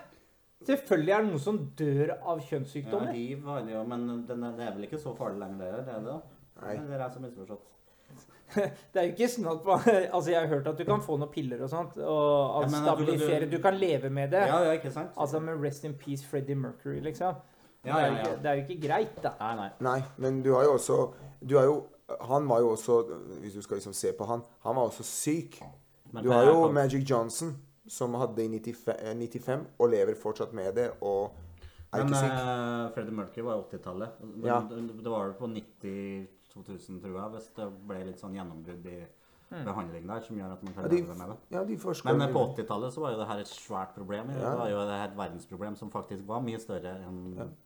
S1: Selvfølgelig er det noen som dør av
S3: Ja,
S1: kjønnssykdommer.
S3: hiv var det jo, men den, er- det er vel ikke så farlig lenger, det er det det? da?
S2: Nei.
S3: Eller er jeg så misforstått?
S1: Det er jo ikke sånn at man, altså Jeg har hørt at du kan få noen piller og sånt. Og
S3: Ja,
S1: at
S3: men at du-
S1: stabilisere. Du kan leve med det.
S3: Ja, ja, ikke sant?
S1: Altså med Rest in Peace Freddie Mercury, liksom.
S3: Ja,
S1: Det
S3: ja,
S1: er jo
S3: ja.
S1: ikke, det er jo ikke greit, da.
S3: Nei, nei.
S2: Nei, men du har jo også du har jo, Han var jo også Hvis du skal liksom se på han, han var også syk.
S3: Men
S2: Du
S3: det
S2: har
S3: er
S2: jo
S3: kalt-
S2: Magic Johnson, som hadde i 95, eh, 95 og lever fortsatt med det, og er
S3: Men
S2: ikke syk.
S3: eh, Freddie Mercury var 80-tallet. Men
S2: Ja.
S3: Det det var vel på 90-2000, tror jeg, hvis det ble litt sånn gjennombrudd i behandling der som gjør at man kan
S2: Ja, de,
S3: leve med det.
S2: ja, de forsker
S3: Men eh, på
S2: jo-
S3: 80-tallet så var jo det her et svært problem. Det var jo det her et verdensproblem som faktisk var mye større enn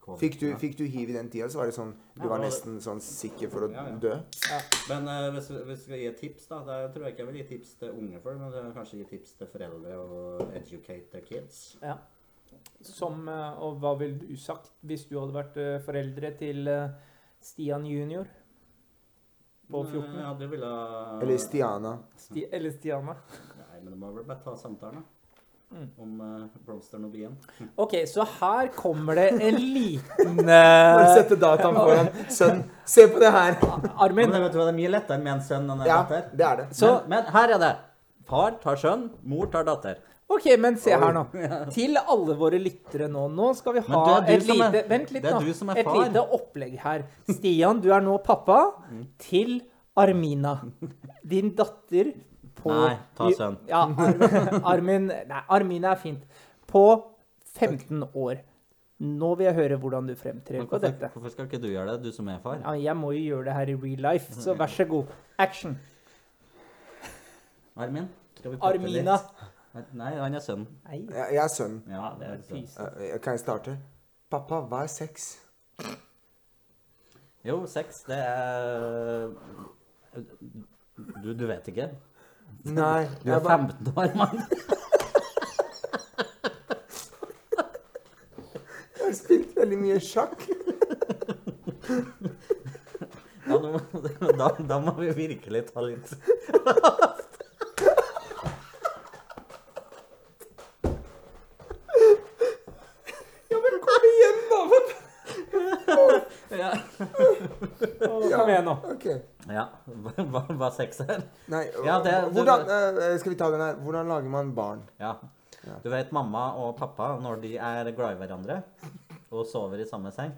S3: covid.
S2: fikk, du, fikk du hiv i den tida, så var det sånn Du
S3: Ja,
S2: var
S3: det var det.
S2: nesten sånn sikker for å
S3: Ja, ja.
S2: dø.
S3: Men eh, hvis, hvis vi skal gi et tips, da Det tror jeg ikke jeg vil gi tips til unge folk, men jeg vil kanskje gi tips til foreldre og educate their kids.
S1: Ja. Som, eh, og hva ville du sagt hvis du hadde vært eh, foreldre til eh, Stian junior på 14?
S3: Eh, Ja, du ville
S2: Eller Stiana.
S1: Sti, eller Stiana?
S3: Nei, men du må vel bare ta samtalen, da. Om eh, blomsteren og bien.
S1: OK, så her kommer det en liten
S2: Bare
S1: eh,
S2: sette dataen foran. Sønn, se på det her!
S1: Armin,
S3: Men vet du hva, det er mye lettere med en sønn enn en
S2: Ja,
S3: datter.
S2: det er det.
S1: så
S3: men, men her er det. Far tar sønn, mor tar datter.
S1: OK, men se her nå. Til alle våre lyttere nå. Nå skal vi ha
S3: Men det er
S1: et
S3: du som er-
S1: lite Vent litt,
S3: det er
S1: nå.
S3: du som er
S1: Et
S3: far.
S1: lite opplegg her. Stian, du er nå pappa
S3: Mm.
S1: til Armina. Din datter på
S3: Nei, ta sønn.
S1: Ja, Armin, Armin Nei, Armina er fint. På 15 år. Nå vil jeg høre hvordan du fremtrer på
S3: hvorfor,
S1: dette.
S3: hvorfor skal ikke du gjøre det, du som er far?
S1: Ja, jeg må jo gjøre det her i real life, så
S3: Mm.
S1: vær så god. Action.
S3: Armin? Skal vi prate
S1: Armina.
S3: litt? Nei, han er sønnen.
S1: Nei,
S2: Jeg jeg er sønnen.
S3: Ja, det er sønnen.
S1: pyse.
S2: Eh, Kan jeg starte? Pappa, hva er sex?
S3: Jo, sex, det er Du, du vet ikke?
S2: Nei.
S3: Du
S2: jeg
S3: er
S2: bare-
S3: 15 år, mann.
S2: Jeg har spilt veldig mye sjakk.
S3: Ja, nå må- da, da må vi virkelig ta litt
S2: Ja, men kom igjen, da!
S3: Ja,
S1: Å, Kom igjen nå.
S2: Ok.
S3: ja. Hva, hva- hva sex er?
S2: Nei,
S3: Ja, det- det-
S2: hvordan, eh, skal vi ta den her? Hvordan lager man barn?
S3: Ja. Du vet mamma og pappa, når de er glad i hverandre og sover i samme seng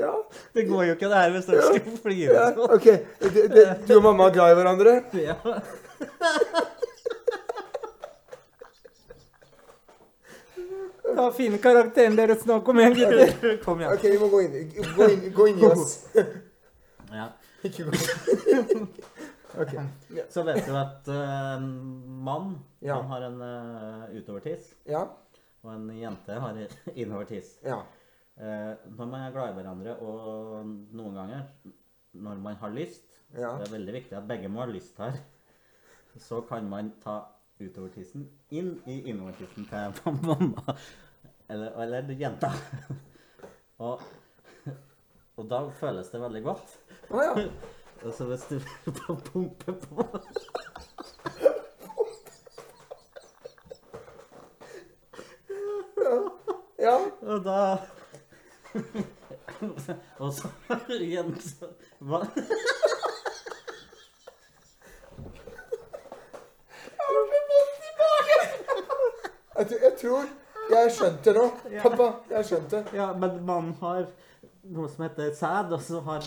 S2: Ja,
S3: Det går jo ikke det her hvis dere skulle flire
S2: ja
S3: sånn.
S2: ok. Det- det- Du og mamma er glad i hverandre?
S3: Ja.
S1: Ta fine karakteren deres nå. Kom igjen, gutter.
S3: Kom igjen.
S2: Ok, vi må gå inn, gå inn, gå inn i oss.
S3: Ja.
S2: Ikke gå inn. Ok.
S3: Så vet du at eh, mann
S2: Ja.
S3: han har en uh, utovertiss,
S2: Ja.
S3: og en jente har en innovertiss.
S2: Ja.
S3: Eh, når man er glad i hverandre, og noen ganger når man har lyst
S2: Ja.
S3: Det er veldig viktig at begge må ha lyst her. Så kan man ta utovertissen inn i innovertissen til mamma. Eller, eller jenta. Og, og da føles det veldig godt.
S2: Å ja.
S3: Og så hvis du pumper på
S2: Ja.
S3: Og da Og så igjen så Hva?
S2: Jeg, tr- jeg tror jeg skjønte det nå. Pappa, jeg skjønte.
S3: Ja, men man har noe som heter sæd, og så har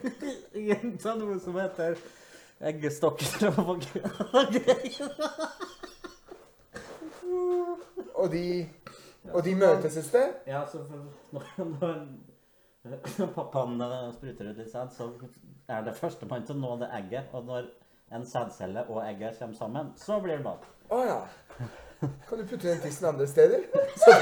S3: jenta noe som heter eggestokker og greier.
S2: Og de, og de møtes et sted?
S3: Ja, så for- når, når pappaen eh, spruter ut litt sæd, så er det førstemann til å nå det egget. Og når en sædcelle og egget kommer sammen, så blir det vann.
S2: Å ja. Kan du putte den tissen andre steder? Så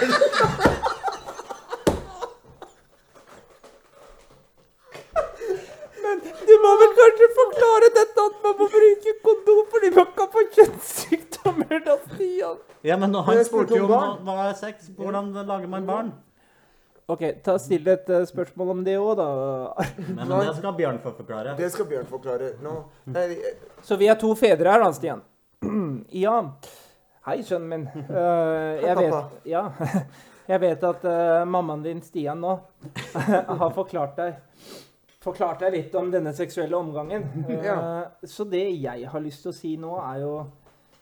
S1: Du må vel kanskje forklare dette at man må bruke kondom fordi man kan få kjønnssykdommer, da, Stian.
S3: Ja, men han
S2: Men jeg
S3: spurte
S2: spurte
S3: jo
S2: om
S3: om
S2: barn.
S3: hva hva er sex, hvordan lager man barn?
S1: OK, ta still et eh, spørsmål om det òg, da.
S3: Nei, men det skal Bjørn få forklare.
S2: det skal Bjørn forklare nå. Nei, jeg-
S1: Så vi er to fedre her, da, Stian. ja. Hei, sønnen min. Eh, jeg
S2: Pappa.
S1: vet Ja. Jeg vet at eh, mammaen din, Stian, nå har forklart deg Forklart deg litt om denne seksuelle omgangen. Eh,
S2: Ja.
S1: Så det jeg har lyst til å si nå, er jo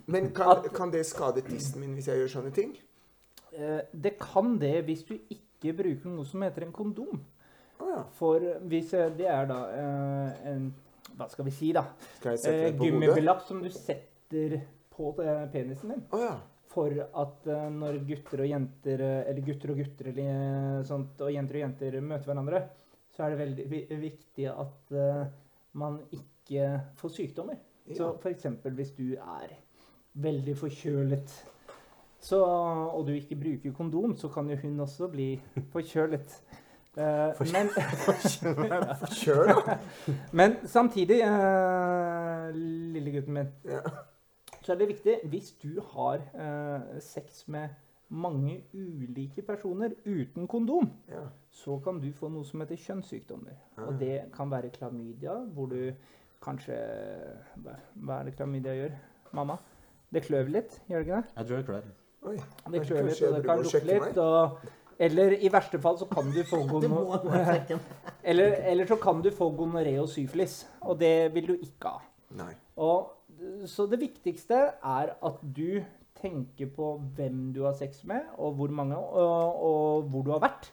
S2: men kan, kan det skade tissen min hvis jeg gjør sånne ting?
S1: eh, Det kan det hvis du ikke bruker noe som heter en kondom.
S2: Å ja.
S1: For hvis eh, det er da eh, en Hva skal vi si, da?
S2: Skal jeg sette
S1: Eh,
S2: den på hodet?
S1: Gummibelagt som du setter på eh, penisen din.
S2: Å ja.
S1: For at eh, når gutter og jenter eh, Eller gutter og gutter eller eh, sånt, og jenter og jenter møter hverandre, så er det veldig vi- viktig at eh, man ikke får sykdommer. Så
S2: Ja.
S1: f.eks. hvis du er veldig forkjølet så, og du ikke bruker kondom, så kan jo hun også bli forkjølet. Eh, men,
S2: Kjør, da.
S1: men samtidig, eh, lille gutten min
S2: Ja.
S1: så er det viktig, hvis du har eh, sex med mange ulike personer uten kondom,
S2: Ja.
S1: så kan du få noe som heter kjønnssykdommer.
S2: Ah.
S1: Og det kan være klamydia, hvor du kanskje Hva hva er det klamydia gjør? Mamma? Det kløver litt, gjør det ikke det?
S3: Jeg tror det klør.
S2: Oi.
S1: Det
S2: Kanskje
S1: klør litt,
S2: jeg
S1: og det
S2: burde
S1: kan
S2: gå og
S1: lukte
S2: sjekke
S1: litt. Og, eller i verste fall så kan du få gono- eller, eller så kan du få gonoré og syfilis, og det vil du ikke ha.
S2: Nei.
S1: Og, eh, så det viktigste er at du tenker på hvem du har sex med, og hvor mange, og, og hvor du har vært.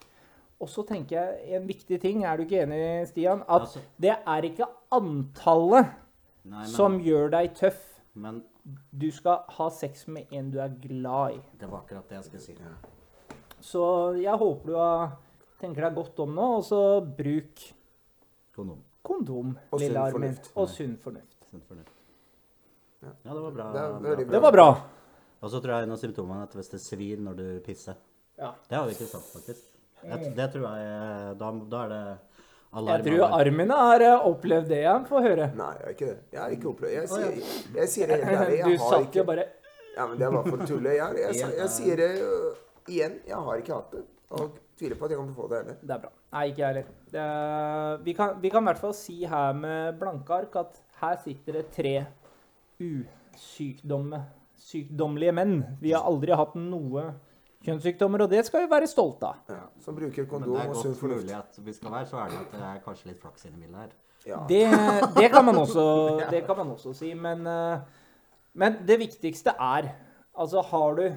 S1: Og så tenker jeg en viktig ting, er du ikke enig, Stian, at
S3: Altså-
S1: det er ikke antallet
S3: Nei,
S1: som
S3: men,
S1: gjør deg tøff.
S3: men
S1: Du skal ha sex med en du er glad i.
S3: det var akkurat det jeg skulle si.
S1: Så jeg håper du har, tenker deg godt om nå, og så bruk
S3: Kondom.
S1: kondom,
S2: Og sunn
S1: lille armen,
S2: fornuft.
S1: og sunn fornuft.
S3: Sunt fornuft.
S2: Ja.
S3: Ja, det var bra.
S2: Det er
S3: bra.
S2: veldig bra.
S1: Det var bra.
S3: Og så tror jeg en av symptomene er at hvis det svir når du pisser.
S1: Ja.
S3: Det har vi ikke sagt, faktisk. Det, det tror jeg Da, da er det
S1: Jeg
S3: alarm.
S1: tror
S3: alarm.
S1: Armin har eh, opplevd det igjen. Få høre.
S2: Nei, jeg har ikke det. Jeg har ikke opplevd jeg, sier- jeg sier det helt ærlig.
S1: Du
S2: Jeg har
S1: satt jo
S2: ikke
S1: bare
S2: Ja, men det var for tulle. Jeg, jeg, jeg, jeg sier det øh, igjen. Jeg har ikke hatt det. Og tviler på at jeg kommer til å få det heller.
S1: Det er bra. Nei, ikke jeg heller. Det er- Vi kan vi kan i hvert fall si her med blanke ark at her sitter det tre usykdomme sykdommelige menn. Vi har aldri hatt noe kjønnssykdommer, og det skal vi være stolte av.
S2: Ja. Som bruker
S3: Men det
S2: kondom
S3: er
S2: og sunn
S3: godt mulig
S2: fornuft.
S3: at vi skal være så ærlige at det er kanskje litt flaks innimellom her.
S2: Ja.
S1: Det, det, kan man også, det kan man også si, men, eh, men det viktigste er Altså, har du,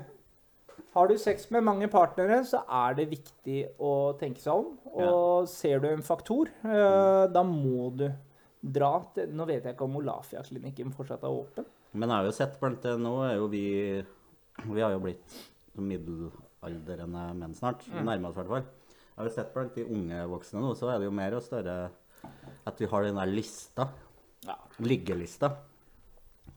S1: har du sex med mange partnere, så er det viktig å tenke seg om. Og ser du en faktor, eh, da må du dra til Nå vet jeg ikke om Olafia-klinikken fortsatt er åpen.
S3: Men jeg har jo sett blant det nå er jo vi Vi har jo blitt middelaldrende menn snart.
S1: Mm.
S3: Nærmer oss i hvert fall. Jeg har jo sett blant de unge voksne nå, så er det jo mer og større at vi har den der lista ja, liggelista.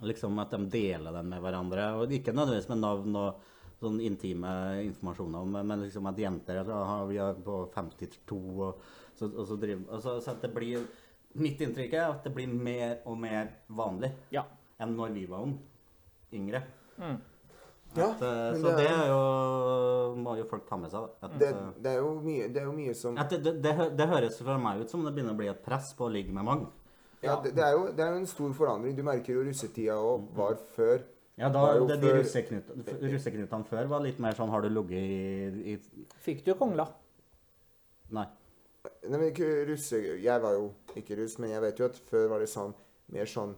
S3: Liksom at de deler den med hverandre. Og ikke nødvendigvis med navn og sånn intime informasjoner, om, men liksom at jenter altså, ah, vi er på 52 og så, og så driver og så, så at det blir Mitt inntrykk er at det blir mer og mer vanlig
S1: Ja.
S3: enn når vi var ung, yngre.
S2: Ja,
S3: Så,
S2: men
S3: øh, så det
S2: er-
S3: er jo, må jo folk ta med seg. da, At,
S2: det,
S3: eh,
S2: det, er jo mye, det er jo mye som
S3: At det, det, det, hø- det høres for meg ut som det begynner å bli et press på å ligge med mange.
S2: ja, det, det, er jo, det er jo en stor forandring. Du merker jo russetida og var før.
S3: Ja, da,
S2: Var jo
S3: det, de
S2: før-
S3: russeknut, f- russeknutene før var litt mer sånn Har du ligget i, i
S1: Fikk du kongla?
S3: Nei.
S2: Nei, men ikke russe... Jeg var jo ikke russ, men jeg vet jo at før var det sånn mer sånn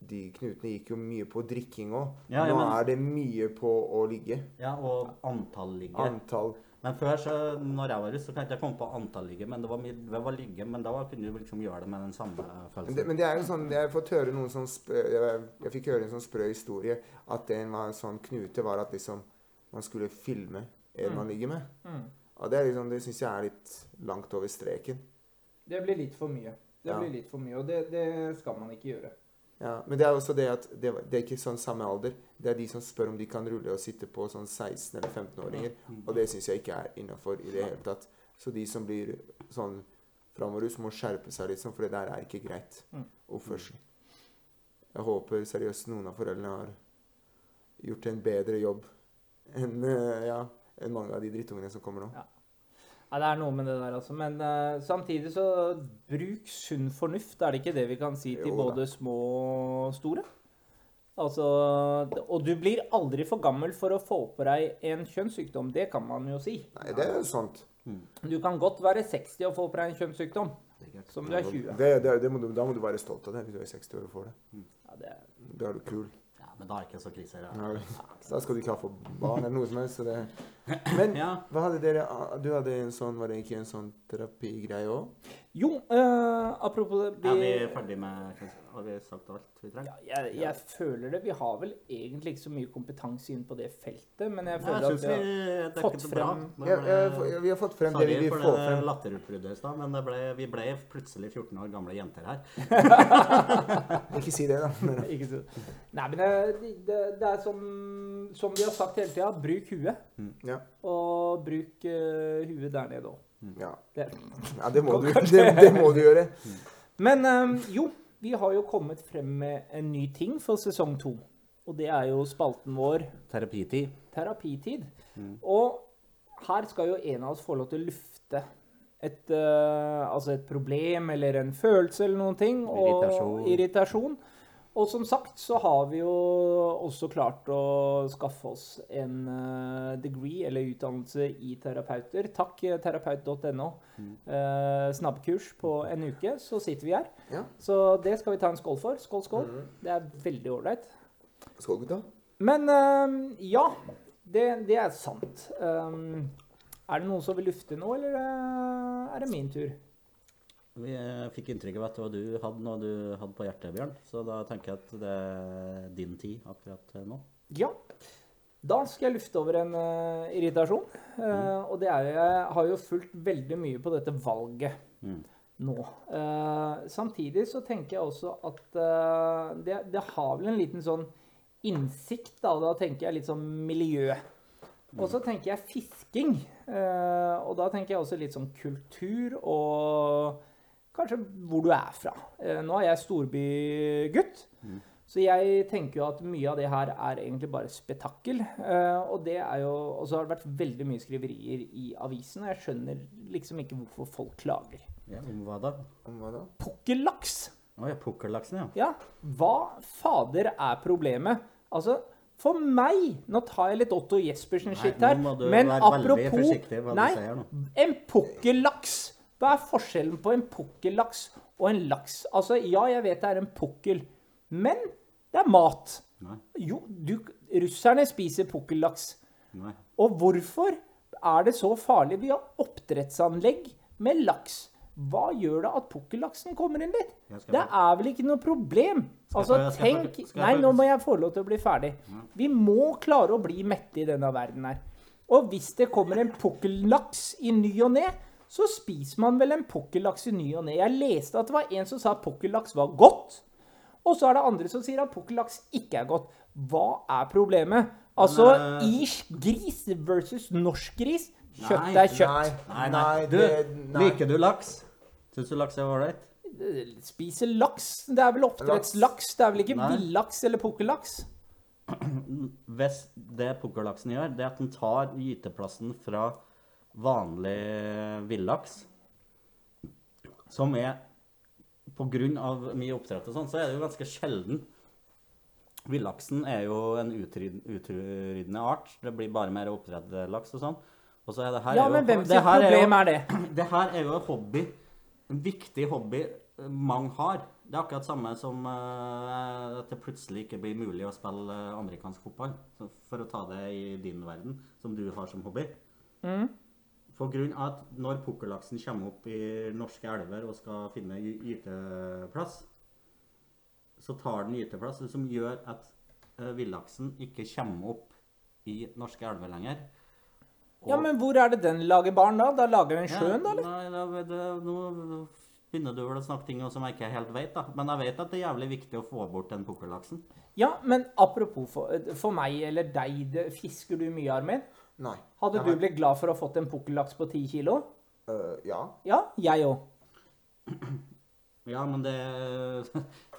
S2: De knutene gikk jo mye på drikking òg.
S3: Ja, ja,
S2: Nå
S3: men-
S2: er det mye på å ligge.
S3: Ja, og antall ligger.
S2: Antall
S3: Men før, så, når jeg var russ, så kan jeg ikke komme på antall ligger, men det var, mye- det var ligge, men da var- kunne du liksom gjøre det med den samme
S2: Men det,
S3: følelsen.
S2: men det er jo sånn, jeg har fått høre noen sånn sprø, jeg, jeg fikk høre en sånn sprø historie at det var en sånn knute var at liksom man skulle filme
S3: Mm.
S2: en man ligger med.
S1: Mm.
S2: Og det, er liksom, det syns jeg er litt langt over streken.
S1: Det blir litt for mye. Det
S2: Ja.
S1: blir litt for mye, og det, det skal man ikke gjøre.
S2: Ja, men det er også det at det, var- det er ikke sånn samme alder. Det er de som spør om de kan rulle og sitte på sånn 16- eller 15-åringer. Og det syns jeg ikke er innafor i det hele tatt. Så de som blir sånn framoverus, må skjerpe seg litt, sånn, for det der er ikke greit
S1: Mm.
S2: oppførsel. Jeg håper seriøst noen av foreldrene har gjort en bedre jobb enn eh, ja, enn mange av de drittungene som kommer nå.
S1: Ja. Ja, det er noe med det der, altså. Men eh, samtidig så bruk sunn fornuft. Er det ikke det vi kan si til
S2: Jo da.
S1: både små og store? Altså Og du blir aldri for gammel for å få på deg en kjønnssykdom. Det kan man jo si.
S2: Nei, det er jo sant.
S1: Du kan godt være 60 og få på deg en kjønnssykdom som du er 20.
S2: Det, det, det må du, da må du være stolt av det hvis du er 60 år og får det.
S1: Ja, det er
S2: Da er du kul.
S3: Ja, men da er det ikke så krise. da.
S2: Ja, så da skal du ikke ha for barn eller noe som helst. Så det. Men
S3: Ja.
S2: hva hadde dere Du hadde en sånn, var det ikke en sånn terapigreie òg?
S1: Jo, eh, apropos det
S3: Er vi
S1: vi-
S3: ferdig med Har vi sagt alt vi trenger?
S1: Ja, jeg, jeg føler det. Vi har vel egentlig ikke så mye kompetanse inn på det feltet, men jeg
S3: Nei,
S1: føler at
S3: Jeg syns vi
S1: vi har
S3: det er
S1: fått
S3: ikke så bra.
S1: frem-
S3: Nå
S2: Ja,
S3: ble-
S2: ja, for- ja, vi har fått frem det vi
S3: Sorry
S2: vil
S3: for
S2: få
S3: det
S2: frem.
S3: latterutbruddet i stad, men det ble, vi ble plutselig 14 år gamle jenter her.
S2: Ikke si det, da. Men,
S1: Ikke så... Nei, men det, det, det er som, som vi har sagt hele tida, bruk huet.
S2: ja.
S1: Og bruk eh, huet der nede òg.
S2: Ja.
S1: Det.
S2: ja, det må du, det, det må du gjøre.
S1: Men eh, jo, vi har jo kommet frem med en ny ting for sesong to. Og det er jo spalten vår
S3: Terapitid.
S1: terapitid. Og her skal jo en av oss få lov til å lufte et, eh, altså et problem eller en følelse eller noen ting.
S3: Irritasjon.
S1: Og irritasjon. Og som sagt så har vi jo også klart å skaffe oss en eh, degree eller utdannelse i terapeuter. Takk eh, terapeut.no. Eh, Snabbkurs på en uke, så sitter vi her.
S2: Ja.
S1: Så det skal vi ta en skål for. Skål, skål. Det er veldig ålreit.
S2: Skål, gutta.
S1: Men ehm, ja, det, det er sant. Ehm, er det noen som vil lufte nå, eller eh, er det min tur?
S3: Vi eh, fikk inntrykk av at det var du hadde noe du hadde på hjertet, Bjørn. Så da tenker jeg at det er din tid akkurat eh, nå.
S1: Ja. Da skal jeg lufte over en eh, irritasjon. Eh, Og det er jo Jeg har jo fulgt veldig mye på dette valget nå. Eh, samtidig så tenker jeg også at eh, det, det har vel en liten sånn innsikt, da. Da tenker jeg litt sånn miljø. Og så tenker jeg fisking. eh, og da tenker jeg også litt sånn kultur og kanskje hvor du er fra. Eh, nå er jeg storbygutt. Så jeg tenker jo at mye av det her er egentlig bare spetakkel. eh, og det er jo, og så har det vært veldig mye skriverier i avisen, og jeg skjønner liksom ikke hvorfor folk klager.
S3: Ja, om hva da?
S2: Om hva da?
S1: Pukkellaks!
S3: Å ja, pukkellaksen, ja.
S1: Ja, hva fader er problemet? Altså, for meg Nå tar jeg litt Otto Jespersen-skitt
S3: Nei,
S1: her,
S3: nå må du
S1: men
S3: være veldig
S1: apropos
S3: forsiktig hva du
S1: Nei,
S3: sier nå.
S1: en pukkellaks! Hva er forskjellen på en pukkellaks og en laks? Altså, ja, jeg vet det er en pukkel, men det er mat.
S3: Nei.
S1: Jo, du, russerne spiser pukkellaks.
S3: Nei.
S1: Og hvorfor er det så farlig? Vi har oppdrettsanlegg med laks. Hva gjør det at pukkellaksen kommer inn dit?
S3: Jeg skal
S1: Det er vel ikke noe problem?
S3: jeg
S1: Altså,
S3: prøve- skal jeg
S1: tenk
S3: prøve- skal jeg
S1: Nei, nå
S3: prøve-
S1: må jeg få lov til å bli ferdig. Vi må klare å bli mette i denne verden her. Og hvis det kommer en pukkellaks i ny og ne, så spiser man vel en pukkellaks i ny og ne. Jeg leste at det var en som sa at pukkellaks var godt. Og så er det andre som sier at pukkellaks ikke er godt. Hva er problemet? Altså,
S3: Men, eh,
S1: irsk gris versus norsk gris.
S3: Nei,
S1: Kjøtt er
S2: Nei,
S1: kjøtt.
S3: Nei,
S2: nei,
S3: nei. Du,
S2: det- nei.
S3: liker du laks? Syns du laks er ålreit?
S1: Spise laks. Det er vel oppdrettslaks? Det er vel ikke
S3: Nei.
S1: villaks eller pukkellaks?
S3: Hvis det pukkellaksen gjør, det er at den tar gyteplassen fra vanlig villaks, som er på grunn av mye oppdrett og sånn, så er det jo ganske sjelden. Villaksen er jo en utryd- utryddende art. Det blir bare mer oppdrettslaks og sånn. Og så er det her
S1: Ja,
S3: er jo,
S1: men hvem
S3: det
S1: sitt
S3: her er jo-
S1: problem er det?
S3: det her er jo en hobby, en viktig hobby eh, mange har. Det er akkurat samme som eh, at det plutselig ikke blir mulig å spille eh, amerikansk fotball. Så For å ta det i din verden, som du har som hobby. For grunn av at når pukkellaksen kommer opp i norske elver og skal finne gy- gyteplass, så tar den gyteplass, som gjør at eh, villaksen ikke kommer opp i norske elver lenger.
S1: Ja, men hvor er det den lager barn, da? Da lager den
S3: Ja,
S1: sjøen, da? eller?
S3: Nei, da, vet jeg- nå begynner du vel å snakke ting som jeg ikke helt vet, da. Men jeg vet at det er jævlig viktig å få bort den pukkellaksen.
S1: Ja, men apropos for, for meg eller deg, det- fisker du mye, Armin?
S2: Nei.
S1: Hadde
S2: Jeg
S1: du
S2: har-
S1: blitt glad for å ha fått en pukkellaks på 10 kilo?
S2: Øh, ja.
S1: Ja, jeg òg.
S3: Ja, men det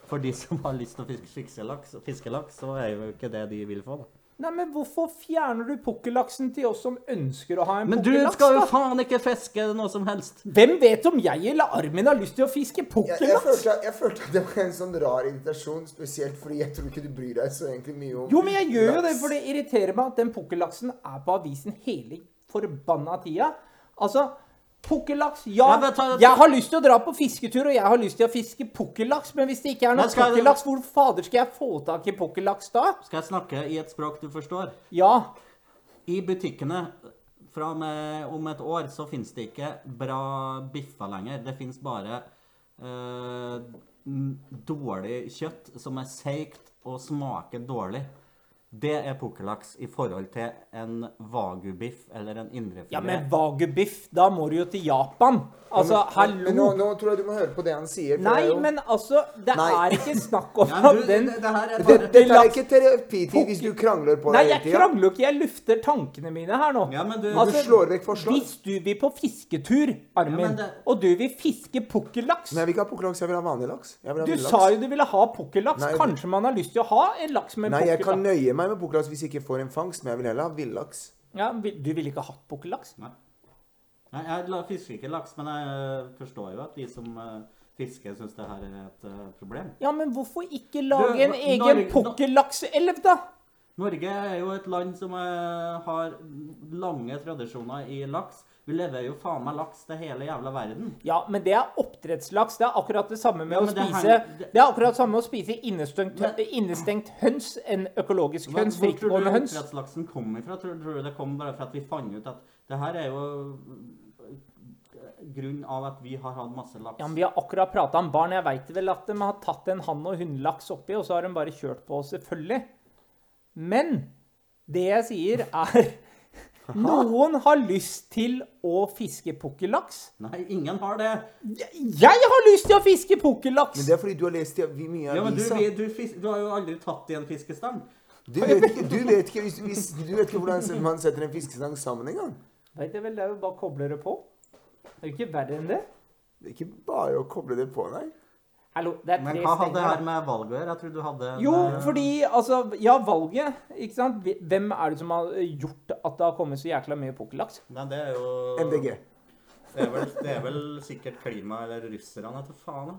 S3: For de som har lyst til å fiske fiskelaks, fiskelaks, så er jo ikke det de vil få, da.
S1: Nei, men hvorfor fjerner du pukkellaksen til oss som ønsker å ha en
S3: Men du skal jo
S1: pukkellaks, da?
S3: faen ikke fiske noe som helst!
S1: Hvem vet om jeg eller Armin har lyst til å fiske
S2: Jeg, jeg,
S1: pukkellaks?
S2: følte, jeg følte at det var en sånn rar invitasjon, spesielt fordi jeg tror ikke du bryr deg så egentlig mye om
S1: Jo, men jeg gjør jo det,
S2: laks.
S1: for det irriterer meg at den pukkellaksen er på avisen hele forbanna tida. Altså, pukkellaks ja,
S3: Ja, men ta-
S1: jeg har lyst til å dra på fisketur, og jeg har lyst til å fiske pukkellaks, men hvis det ikke er
S3: Men
S1: noe
S3: skal-
S1: pukkellaks, hvor fader skal jeg få tak i pukkellaks da?
S3: Skal jeg snakke i et språk du forstår?
S1: Ja.
S3: I butikkene fra og med, om et år så finnes det ikke bra biffer lenger. Det finnes bare eh, n- dårlig kjøtt som er seigt og smaker dårlig. Det er pukkellaks i forhold til en vagubiff eller en indrefilet.
S1: Ja, men vagubiff, da må du jo til Japan. Altså,
S2: Men nå,
S1: hallo.
S2: nå tror jeg du må høre på det han sier. for det
S1: Nei,
S2: er jo-
S1: men altså, det
S2: Nei.
S1: er ikke snakk om
S3: Ja,
S1: at
S3: du,
S1: den
S3: det, det her er
S2: det,
S3: bare...
S2: Dette er
S1: laks-
S2: ikke terapitid hvis du krangler på
S1: Nei,
S2: deg
S1: jeg
S2: hele tida.
S1: krangler jo ikke. Jeg lufter tankene mine her nå.
S3: Ja, men du-
S1: Altså-
S2: Du slår vekk forslag.
S1: Hvis du vil på fisketur, Armin,
S3: Ja, men det-
S1: og du vil fiske pukkellaks
S2: Men jeg vil ikke ha pukkellaks, jeg vil ha vanlig laks. Jeg vil ha
S1: Du
S2: villaks.
S1: sa jo du ville ha pukkellaks.
S2: Nei, det-
S1: Kanskje man har lyst til å ha en laks med
S2: Nei, jeg kan
S1: pukkellaks?
S2: nøye meg med pukkellaks hvis jeg ikke får en fangst, men jeg vil heller ha villaks.
S1: Ja, vil- du ville ikke ha hatt pukkellaks?
S3: Nei. Nei, jeg la- fisker ikke laks, men jeg eh, forstår jo at de som eh, fisker, syns det her er et eh, problem.
S1: Ja, men hvorfor ikke lage
S3: Du,
S1: en
S3: Nor-
S1: egen
S3: Norge-
S1: pukkellakselv, da?
S3: Norge er jo et land som eh, har lange tradisjoner i laks. Vi lever jo faen meg laks til hele jævla verden.
S1: Ja, men det er oppdrettslaks. Det er akkurat det samme med
S3: Ja,
S1: å
S3: men det
S1: spise
S3: hang- det-
S1: Det er akkurat samme å spise innestengt,
S3: Men-
S1: innestengt høns enn økologisk
S3: Hva-
S1: høns.
S3: Hvor tror du
S1: Frittgående høns.
S3: oppdrettslaksen kom ifra? Tror, tror du det kom bare for at vi fant ut at det her er jo eh, grunn av at vi har hatt masse laks?
S1: Ja, men Vi har akkurat prata om barn. Jeg veit vel at de har tatt en hann- og hunnlaks oppi, og så har de bare kjørt på, selvfølgelig. Men det jeg sier, er Noen har lyst til å fiske pukkellaks.
S3: Nei, ingen har det.
S1: Jeg har lyst til å fiske
S2: Men
S1: pukkellaks!
S2: det er fordi du har lest i- vi- mye i
S3: Ja, men du,
S2: avisa.
S3: vi- du, fis- du har jo aldri tatt i en fiskestang.
S2: Du vet ikke, du vet ikke, hvis, hvis, du vet ikke hvordan man setter en fiskestang sammen engang.
S1: Veit jeg vel, det er jo bare å koble det på. Det er jo ikke verre enn det.
S2: Det er ikke bare å koble det på, nei.
S1: Hallo, det er tre
S3: Men hva hadde det
S1: stenger.
S3: her med valget å gjøre? Jeg tror du hadde en,
S1: Jo,
S3: eh,
S1: fordi altså Ja, valget, ikke sant? Hvem er det som har gjort at det har kommet så jækla mye pukkellaks?
S3: Nei, det er jo
S2: MDG.
S3: Det er vel, det er vel sikkert klima eller russerne, jeg vet faen. jeg.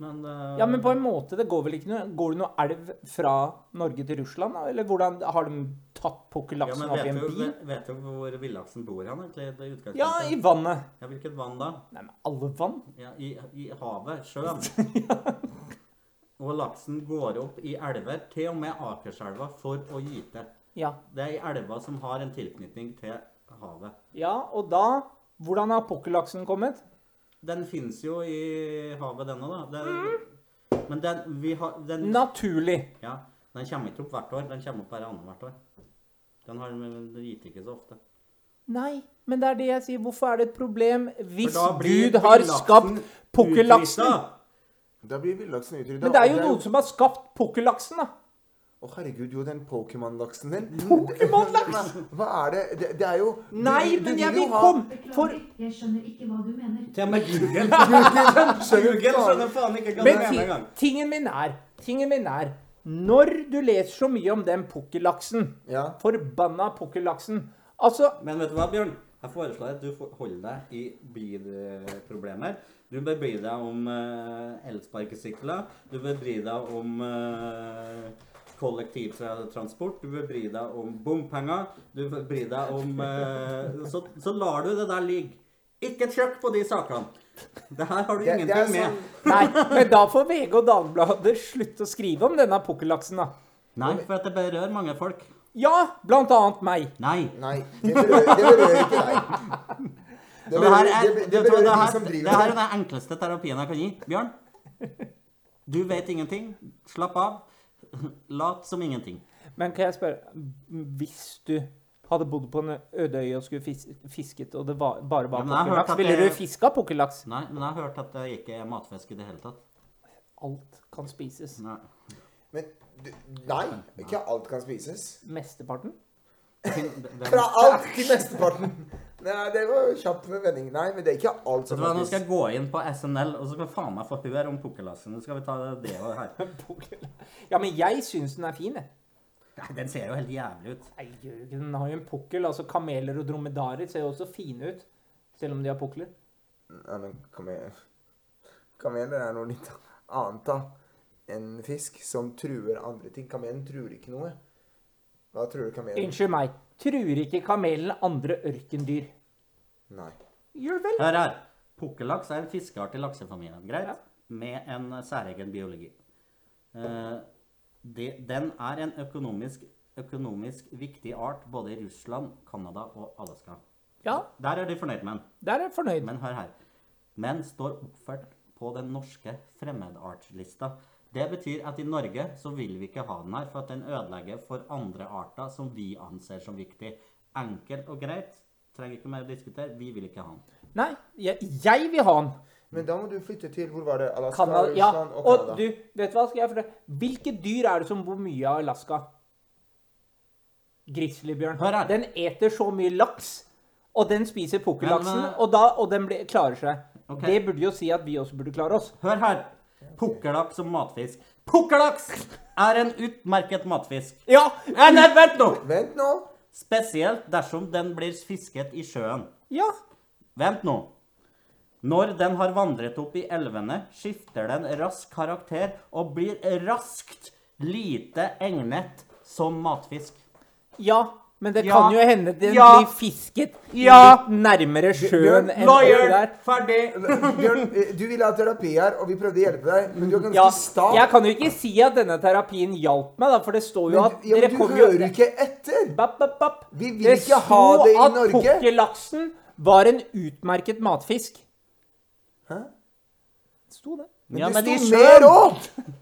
S3: Men, eh,
S1: Ja, men på en måte, det går vel ikke noe Går det noe elv fra Norge til Russland, da? Eller hvordan har de tatt
S3: ja,
S1: pukkellaksen
S3: men
S1: opp i
S3: vet,
S1: en
S3: du,
S1: bil?
S3: vet- vet du hvor villaksen bor hen, egentlig? Det er utgangspunktet.
S1: Ja, i vannet.
S3: ja, hvilket vann da?
S1: Nei, men alle vann?
S3: Ja, i, I havet. Sjøen. Og laksen går opp i elver, til og med Akerselva, for å gyte.
S1: Ja.
S3: Det er i elva som har en tilknytning til havet.
S1: ja, og da Hvordan har pukkellaksen kommet?
S3: Den fins jo i havet, denne, da. Den, men den, vi har, den
S1: Naturlig.
S3: Ja, den kommer ikke opp hvert år. Den kommer opp bare annethvert år. Den har den gyter ikke så ofte.
S1: Nei, men det er det jeg sier. Hvorfor er det et problem hvis
S3: For da blir
S1: Gud har
S3: villaksen
S1: skapt pukkellaksen?
S3: utrydda.
S2: Da blir villaksen utrydda.
S1: Men det er jo
S2: og
S1: noen som har skapt pukkellaksen, da.
S2: Å, herregud, jo, den Pokémon-laksen din.
S1: Pokémon-laks!
S2: Hva er det? det? Det er jo du-
S1: Nei,
S2: du
S1: men jeg
S2: jo
S1: vil
S2: ha-
S1: komme for
S4: Beklager, jeg skjønner ikke hva du mener.
S3: Til og med Google Google skjønner faen ikke hva det
S1: Men
S3: mener
S1: ti-
S3: engang.
S1: tingen min er Tingen min er Når du leser så mye om den pukkellaksen
S2: Ja.
S1: Forbanna pukkellaksen. Altså
S3: Men vet du hva, Bjørn? Jeg foreslår at du får- holder deg i bilproblemer. Du bør bry deg om eh, elsparkesykler. Du bør bry deg om eh, kollektivtransport. Du bør bry deg om bompenger. Du bør bry deg om eh, så, så lar du det der ligge. Ikke trykk på de sakene. Det her har du
S2: Det, det er
S3: ingenting
S2: sånn
S3: med.
S1: Nei, men da får VG og Dagbladet slutte å skrive om denne pukkellaksen, da.
S3: Nei, for at det berører mange folk.
S1: Ja, blant annet meg.
S3: Nei.
S2: Nei, det berører, det berører ikke deg. Det
S3: Det her er,
S2: berører, det, det
S3: vet du hva,
S2: berører
S3: det
S2: de
S3: her,
S2: som
S3: det her
S2: driver
S3: er den enkleste terapien jeg kan gi. Bjørn, du vet ingenting. Slapp av. Lat som ingenting.
S1: Men kan jeg spørre Hvis du hadde bodd på en øde øy og skulle fis fisket, og det var, bare var
S3: Ja, men jeg har hørt
S1: pukkellaks,
S3: at
S1: ville
S3: det-
S1: du fiska pukkellaks?
S3: Nei, men jeg har hørt at jeg ikke er matfisk i det hele tatt.
S1: Alt kan spises.
S3: Nei.
S2: Men du, nei, ikke alt kan spises.
S1: Mesteparten?
S3: Fin- det- det-
S2: Fra alt til mesteparten. Nei, det var jo kjapp vending. Nei, men det er ikke alt
S3: Vet
S2: som
S3: du hva, Nå skal
S2: faktisk
S3: jeg gå inn på SNL, og så skal faen meg få høre om pukkelassen. Nå skal vi ta det og her.
S1: Ja, men jeg syns den er fin, jeg.
S3: Nei, den ser jo helt jævlig ut.
S1: Nei, gjør jo ikke det. Den har jo en pukkel. Altså, kameler og dromedarer ser jo også fine ut, selv om de har pukler.
S2: Nei, men kom igjen. Kameler er noe litt annet da enn fisk som truer andre ting. Kamelen truer ikke noe. Hva truer kamelen?
S1: Unnskyld meg. Truer ikke kamelen andre ørkendyr?
S2: Nei.
S1: Gjør vel?
S3: Hør her. Pukkellaks er en fiskeart i laksefamilien. Greit? Med en eh, særegen biologi. Eh, det, den er en økonomisk, økonomisk viktig art både i Russland, Canada og Alaska.
S1: Ja,
S3: Der er de fornøyd med den.
S1: der er jeg fornøyd.
S3: Men hør her. Men står oppført på den norske fremmedartslista. Det betyr at i Norge så vil vi ikke ha den her, for at den ødelegger for andre arter som vi anser som viktig. Enkelt og greit. Trenger ikke mer å diskutere. Vi vil ikke ha den.
S1: Nei, jeg, jeg vil ha den.
S2: Men da må du flytte til hvor var det? Alaska,
S1: Kanada, ja.
S2: Russland og
S1: Og
S2: Canada.
S1: du, vet du hva skal jeg fortelle? Hvilke dyr er det som bor mye av Alaska? Grizzlybjørn.
S3: Hør her.
S1: Den eter så mye laks, og den spiser pukkellaksen,
S3: Men, eh,
S1: og, da- og den blir- klarer seg.
S3: Ok.
S1: Det burde jo si at vi også burde klare oss.
S3: Hør her. Pukkellaks som matfisk. Pukkellaks er en utmerket matfisk.
S1: Ja!
S3: Nei, nei, vent nå!
S2: Vent nå!
S3: Spesielt dersom den blir fisket i sjøen.
S1: Ja.
S3: Vent nå. Når den har vandret opp i elvene, skifter den rask karakter og blir raskt lite egnet som matfisk.
S1: Ja. Men det
S3: Ja.
S1: kan jo hende den
S3: Ja.
S1: blir fisket
S3: Ja.
S1: litt nærmere sjøen
S2: Bjørn,
S1: enn over der.
S3: Ferdig!
S2: Bjørn, eh, du ville ha terapi her, og vi prøvde å hjelpe deg, men du er ganske
S1: Ja,
S2: sta.
S1: jeg kan jo ikke si at denne terapien hjalp meg, da, for det står jo
S2: Men,
S1: at
S2: ja,
S1: dere
S2: men du
S1: kom jo
S2: hører ikke etter!
S1: Bapp, bapp, bapp.
S2: Vi vil ikke ha det i Norge.
S1: Det sto at pukkellaksen var en utmerket matfisk.
S2: Hæ?
S1: Det sto det.
S2: Men
S3: Ja,
S2: du
S3: men de
S2: sto
S3: skjøn-
S2: mer opp!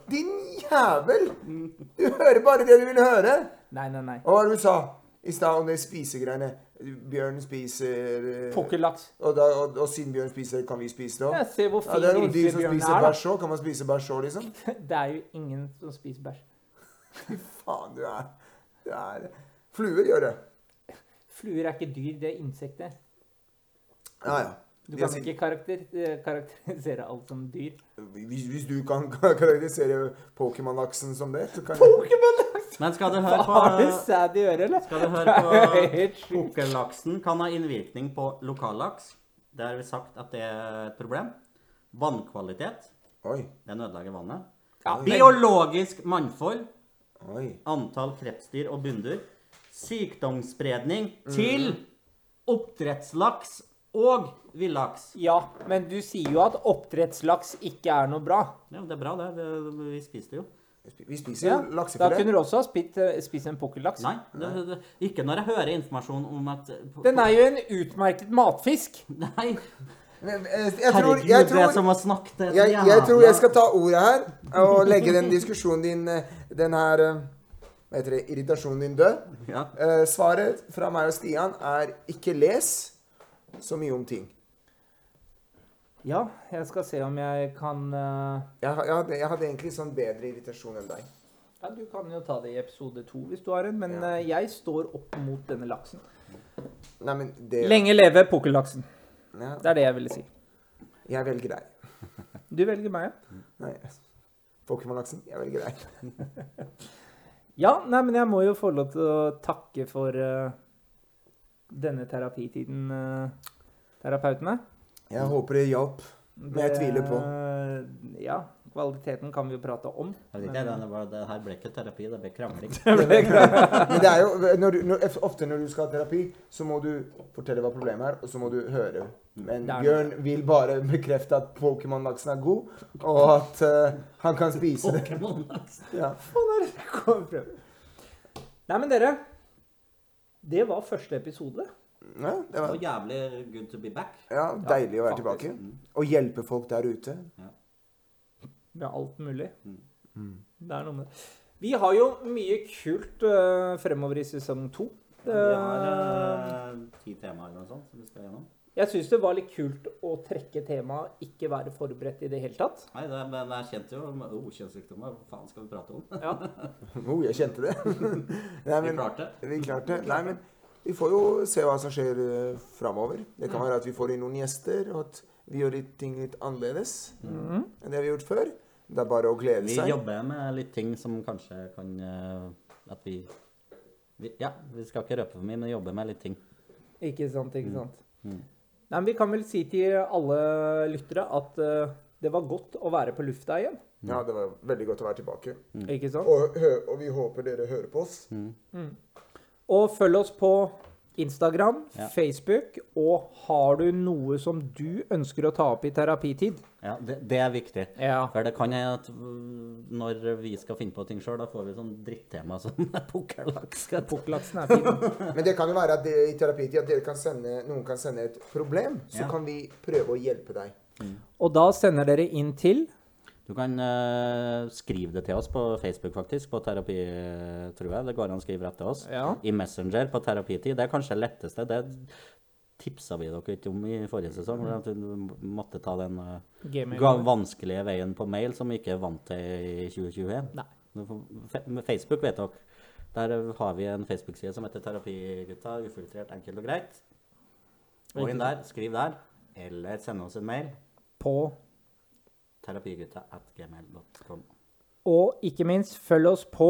S2: Din jævel! Du hører bare det du vil høre.
S1: Nei, nei, nei.
S2: Og hva var det du sa i stad om de spisegreiene? Bjørn spiser eh,
S1: Pukkellaks.
S2: Og, da, og, og siden Bjørn spiser, kan vi spise det òg?
S1: Ja, se hvor fin
S2: det er noen dyr som
S1: grizzlybjørnen
S2: spiser
S1: er, da.
S2: bæsj òg. Kan man spise bæsj òg, liksom?
S1: Det er jo ingen som spiser bæsj.
S2: Faen, du er Du er Fluer gjør det.
S1: Fluer er ikke dyr, det er insekter.
S2: Ja, ja.
S1: Du
S2: De er
S1: kan
S2: sin-
S1: ikke karakter, eh, karakterisere alt som dyr.
S2: Hvis, hvis du kan karakterisere Pokémon-laksen som det, så kan
S3: Men skal du høre på
S1: Har du sæd i øret, eller?
S3: Skal du høre
S1: Det er
S3: på
S1: helt sjukt.
S3: Pukkellaksen kan ha innvirkning på lokallaks. Det har vi sagt at det er et problem. Vannkvalitet.
S2: Oi.
S3: Den ødelegger vannet.
S1: Ja, men-
S3: Biologisk mannfold.
S2: Oi.
S3: antall krepsdyr og bunndyr, sykdomsspredning
S2: Mm.
S3: til oppdrettslaks og villaks.
S1: Ja, men du sier jo at oppdrettslaks ikke er noe bra.
S3: Ja, det er bra, det. det vi spiste det jo.
S2: Vi spiser
S1: Ja, Da
S2: jo
S1: kunne
S2: laksefilet.
S1: du også ha spitt, eh, spist en pukkellaks.
S3: Nei, det, det, ikke når jeg hører informasjon om at
S1: Den er jo en utmerket matfisk.
S3: Nei,
S2: Men, eh, Jeg tror,
S3: herregud,
S2: jeg
S3: det
S2: tror
S3: er som å snakke til et
S2: jeg, jeg
S3: jævla-
S2: tror jeg skal ta ordet her og legge den diskusjonen din, eh, den her eh, Hva heter det? Irritasjonen din død.
S3: ja.
S2: Eh, Svaret fra meg og Stian er ikke les så mye om ting.
S1: Ja, jeg skal se om jeg kan eh,
S2: Jeg, ha- jeg, hadde, jeg hadde egentlig sånn bedre irritasjon enn deg.
S1: Ja, du kan jo ta det i episode to hvis du har en, men
S2: Ja.
S1: eh, jeg står opp mot denne laksen.
S2: Nei, men det
S1: Lenge leve pukkellaksen.
S2: ja,
S1: Det er det jeg ville si.
S2: Jeg velger deg.
S1: Du velger meg, ja.
S2: Nei. Pokémon-laksen, jeg velger deg.
S1: Ja, nei, men jeg må jo få lov til å takke for eh, denne terapitiden, eh, terapeutene.
S2: Jeg håper det hjalp. Men jeg
S1: Det-
S2: tviler på.
S1: Eh, Ja, kvaliteten kan vi jo prate om.
S3: Jeg vet ikke, det, det, var, det her ble ikke terapi, det ble krangling.
S2: Men det er jo, når du, når, ofte når du skal ha terapi, så må du fortelle hva problemet er, og så må du høre. Men
S1: Det er
S2: Bjørn vil bare bekrefte at Pokémon-laksen er god, og at eh, han kan spise det. Ja.
S1: Kom, prøv. Nei, men dere. Det var første episode.
S2: Ja, det
S3: Det
S2: var,
S3: var jævlig good to be back. Mm.
S2: ja, deilig å være
S1: faktisk.
S2: tilbake. Og hjelpe folk der ute.
S1: Med alt mulig.
S3: Mm.
S1: Det er noe med det. Vi har jo mye kult øh, fremover i sesong to.
S3: Vi har eh, ti temaer eller noe sånt som vi skal gjennom.
S1: Jeg syns det var litt kult å trekke temaet 'ikke være forberedt' i det hele tatt.
S3: Nei, det, er- men jeg kjente jo om okjønnssykdommer. Hva faen skal vi prate om?
S1: Ja.
S2: Oh, jeg kjente det.
S3: Vi
S2: Nei, men,
S3: klarte.
S2: vi klarte det. Nei, men vi får jo se hva som skjer uh, framover. Det kan være at vi får inn noen gjester, og at vi gjør litt ting litt annerledes enn det vi har gjort før. Det er bare å glede
S3: Vi
S2: seg.
S3: jobber med litt ting som kanskje kan eh, At vi, vi Ja, vi skal ikke røpe for mye, men jobber med litt ting.
S1: Ikke sant, ikke sant.
S3: Mm.
S1: Nei, men Vi kan vel si til alle lyttere at øh, det var godt å være på lufta igjen.
S2: Ja, det var veldig godt å være tilbake.
S1: Ikke sant?
S2: Og, hø- og vi håper dere hører på oss.
S1: Og følg oss på Instagram,
S3: Ja.
S1: Facebook, og har du noe som du ønsker å ta opp i terapitid?
S3: Ja, det, det er viktig.
S1: Ja.
S3: For det kan hende at mm, når vi skal finne på ting sjøl, da får vi sånn drittema som pukkellaks.
S1: Pukkellaksen er fin.
S2: Men det kan jo være at det, i terapitid at dere kan sende, noen kan sende et problem, så
S3: Ja.
S2: kan vi prøve å hjelpe deg.
S1: Og da sender dere inn til
S3: Du kan eh, skrive det til oss på Facebook, faktisk. På terapi, eh, tror jeg. Det går an å skrive rett til oss.
S1: Ja.
S3: I Messenger på terapitid. Det er kanskje det letteste. Det tipsa vi dere ikke om i forrige sesong. for At vi måtte ta den eh,
S1: Gmail.
S3: ga- vanskelige veien på mail som vi ikke er vant til i 2021.
S1: Nei.
S3: Men på fe- med Facebook vet dere. Der har vi en Facebook-side som heter Terapigutta. Ufiltrert, enkelt og greit. Gå inn der, skriv der. Eller send oss en mail.
S1: på.
S3: Terapigutta at gmail.com.
S1: Og ikke minst, følg oss på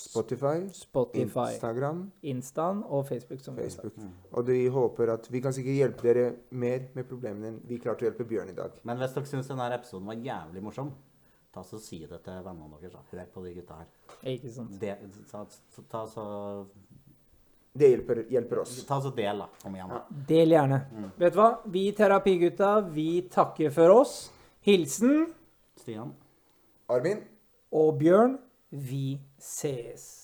S2: Spotify,
S1: Spotify,
S2: Instagram,
S1: Instaen og Facebook. som vi har sagt.
S2: Facebook. Og vi håper at vi kan sikkert hjelpe dere mer med problemene enn vi klarte å hjelpe Bjørn i dag.
S3: Men hvis dere syns denne episoden var jævlig morsom, ta så si det til vennene deres. da. Hør på de gutta her.
S1: Ikke sant.
S3: De, ta, ta, så,
S2: Det hjelper, hjelper oss.
S3: ta så del, da. Kom igjen. da.
S1: Del gjerne. Vet du hva? Vi terapigutta, vi takker for oss. Hilsen
S3: Stian?
S2: Armin?
S1: og Bjørn, vi ses.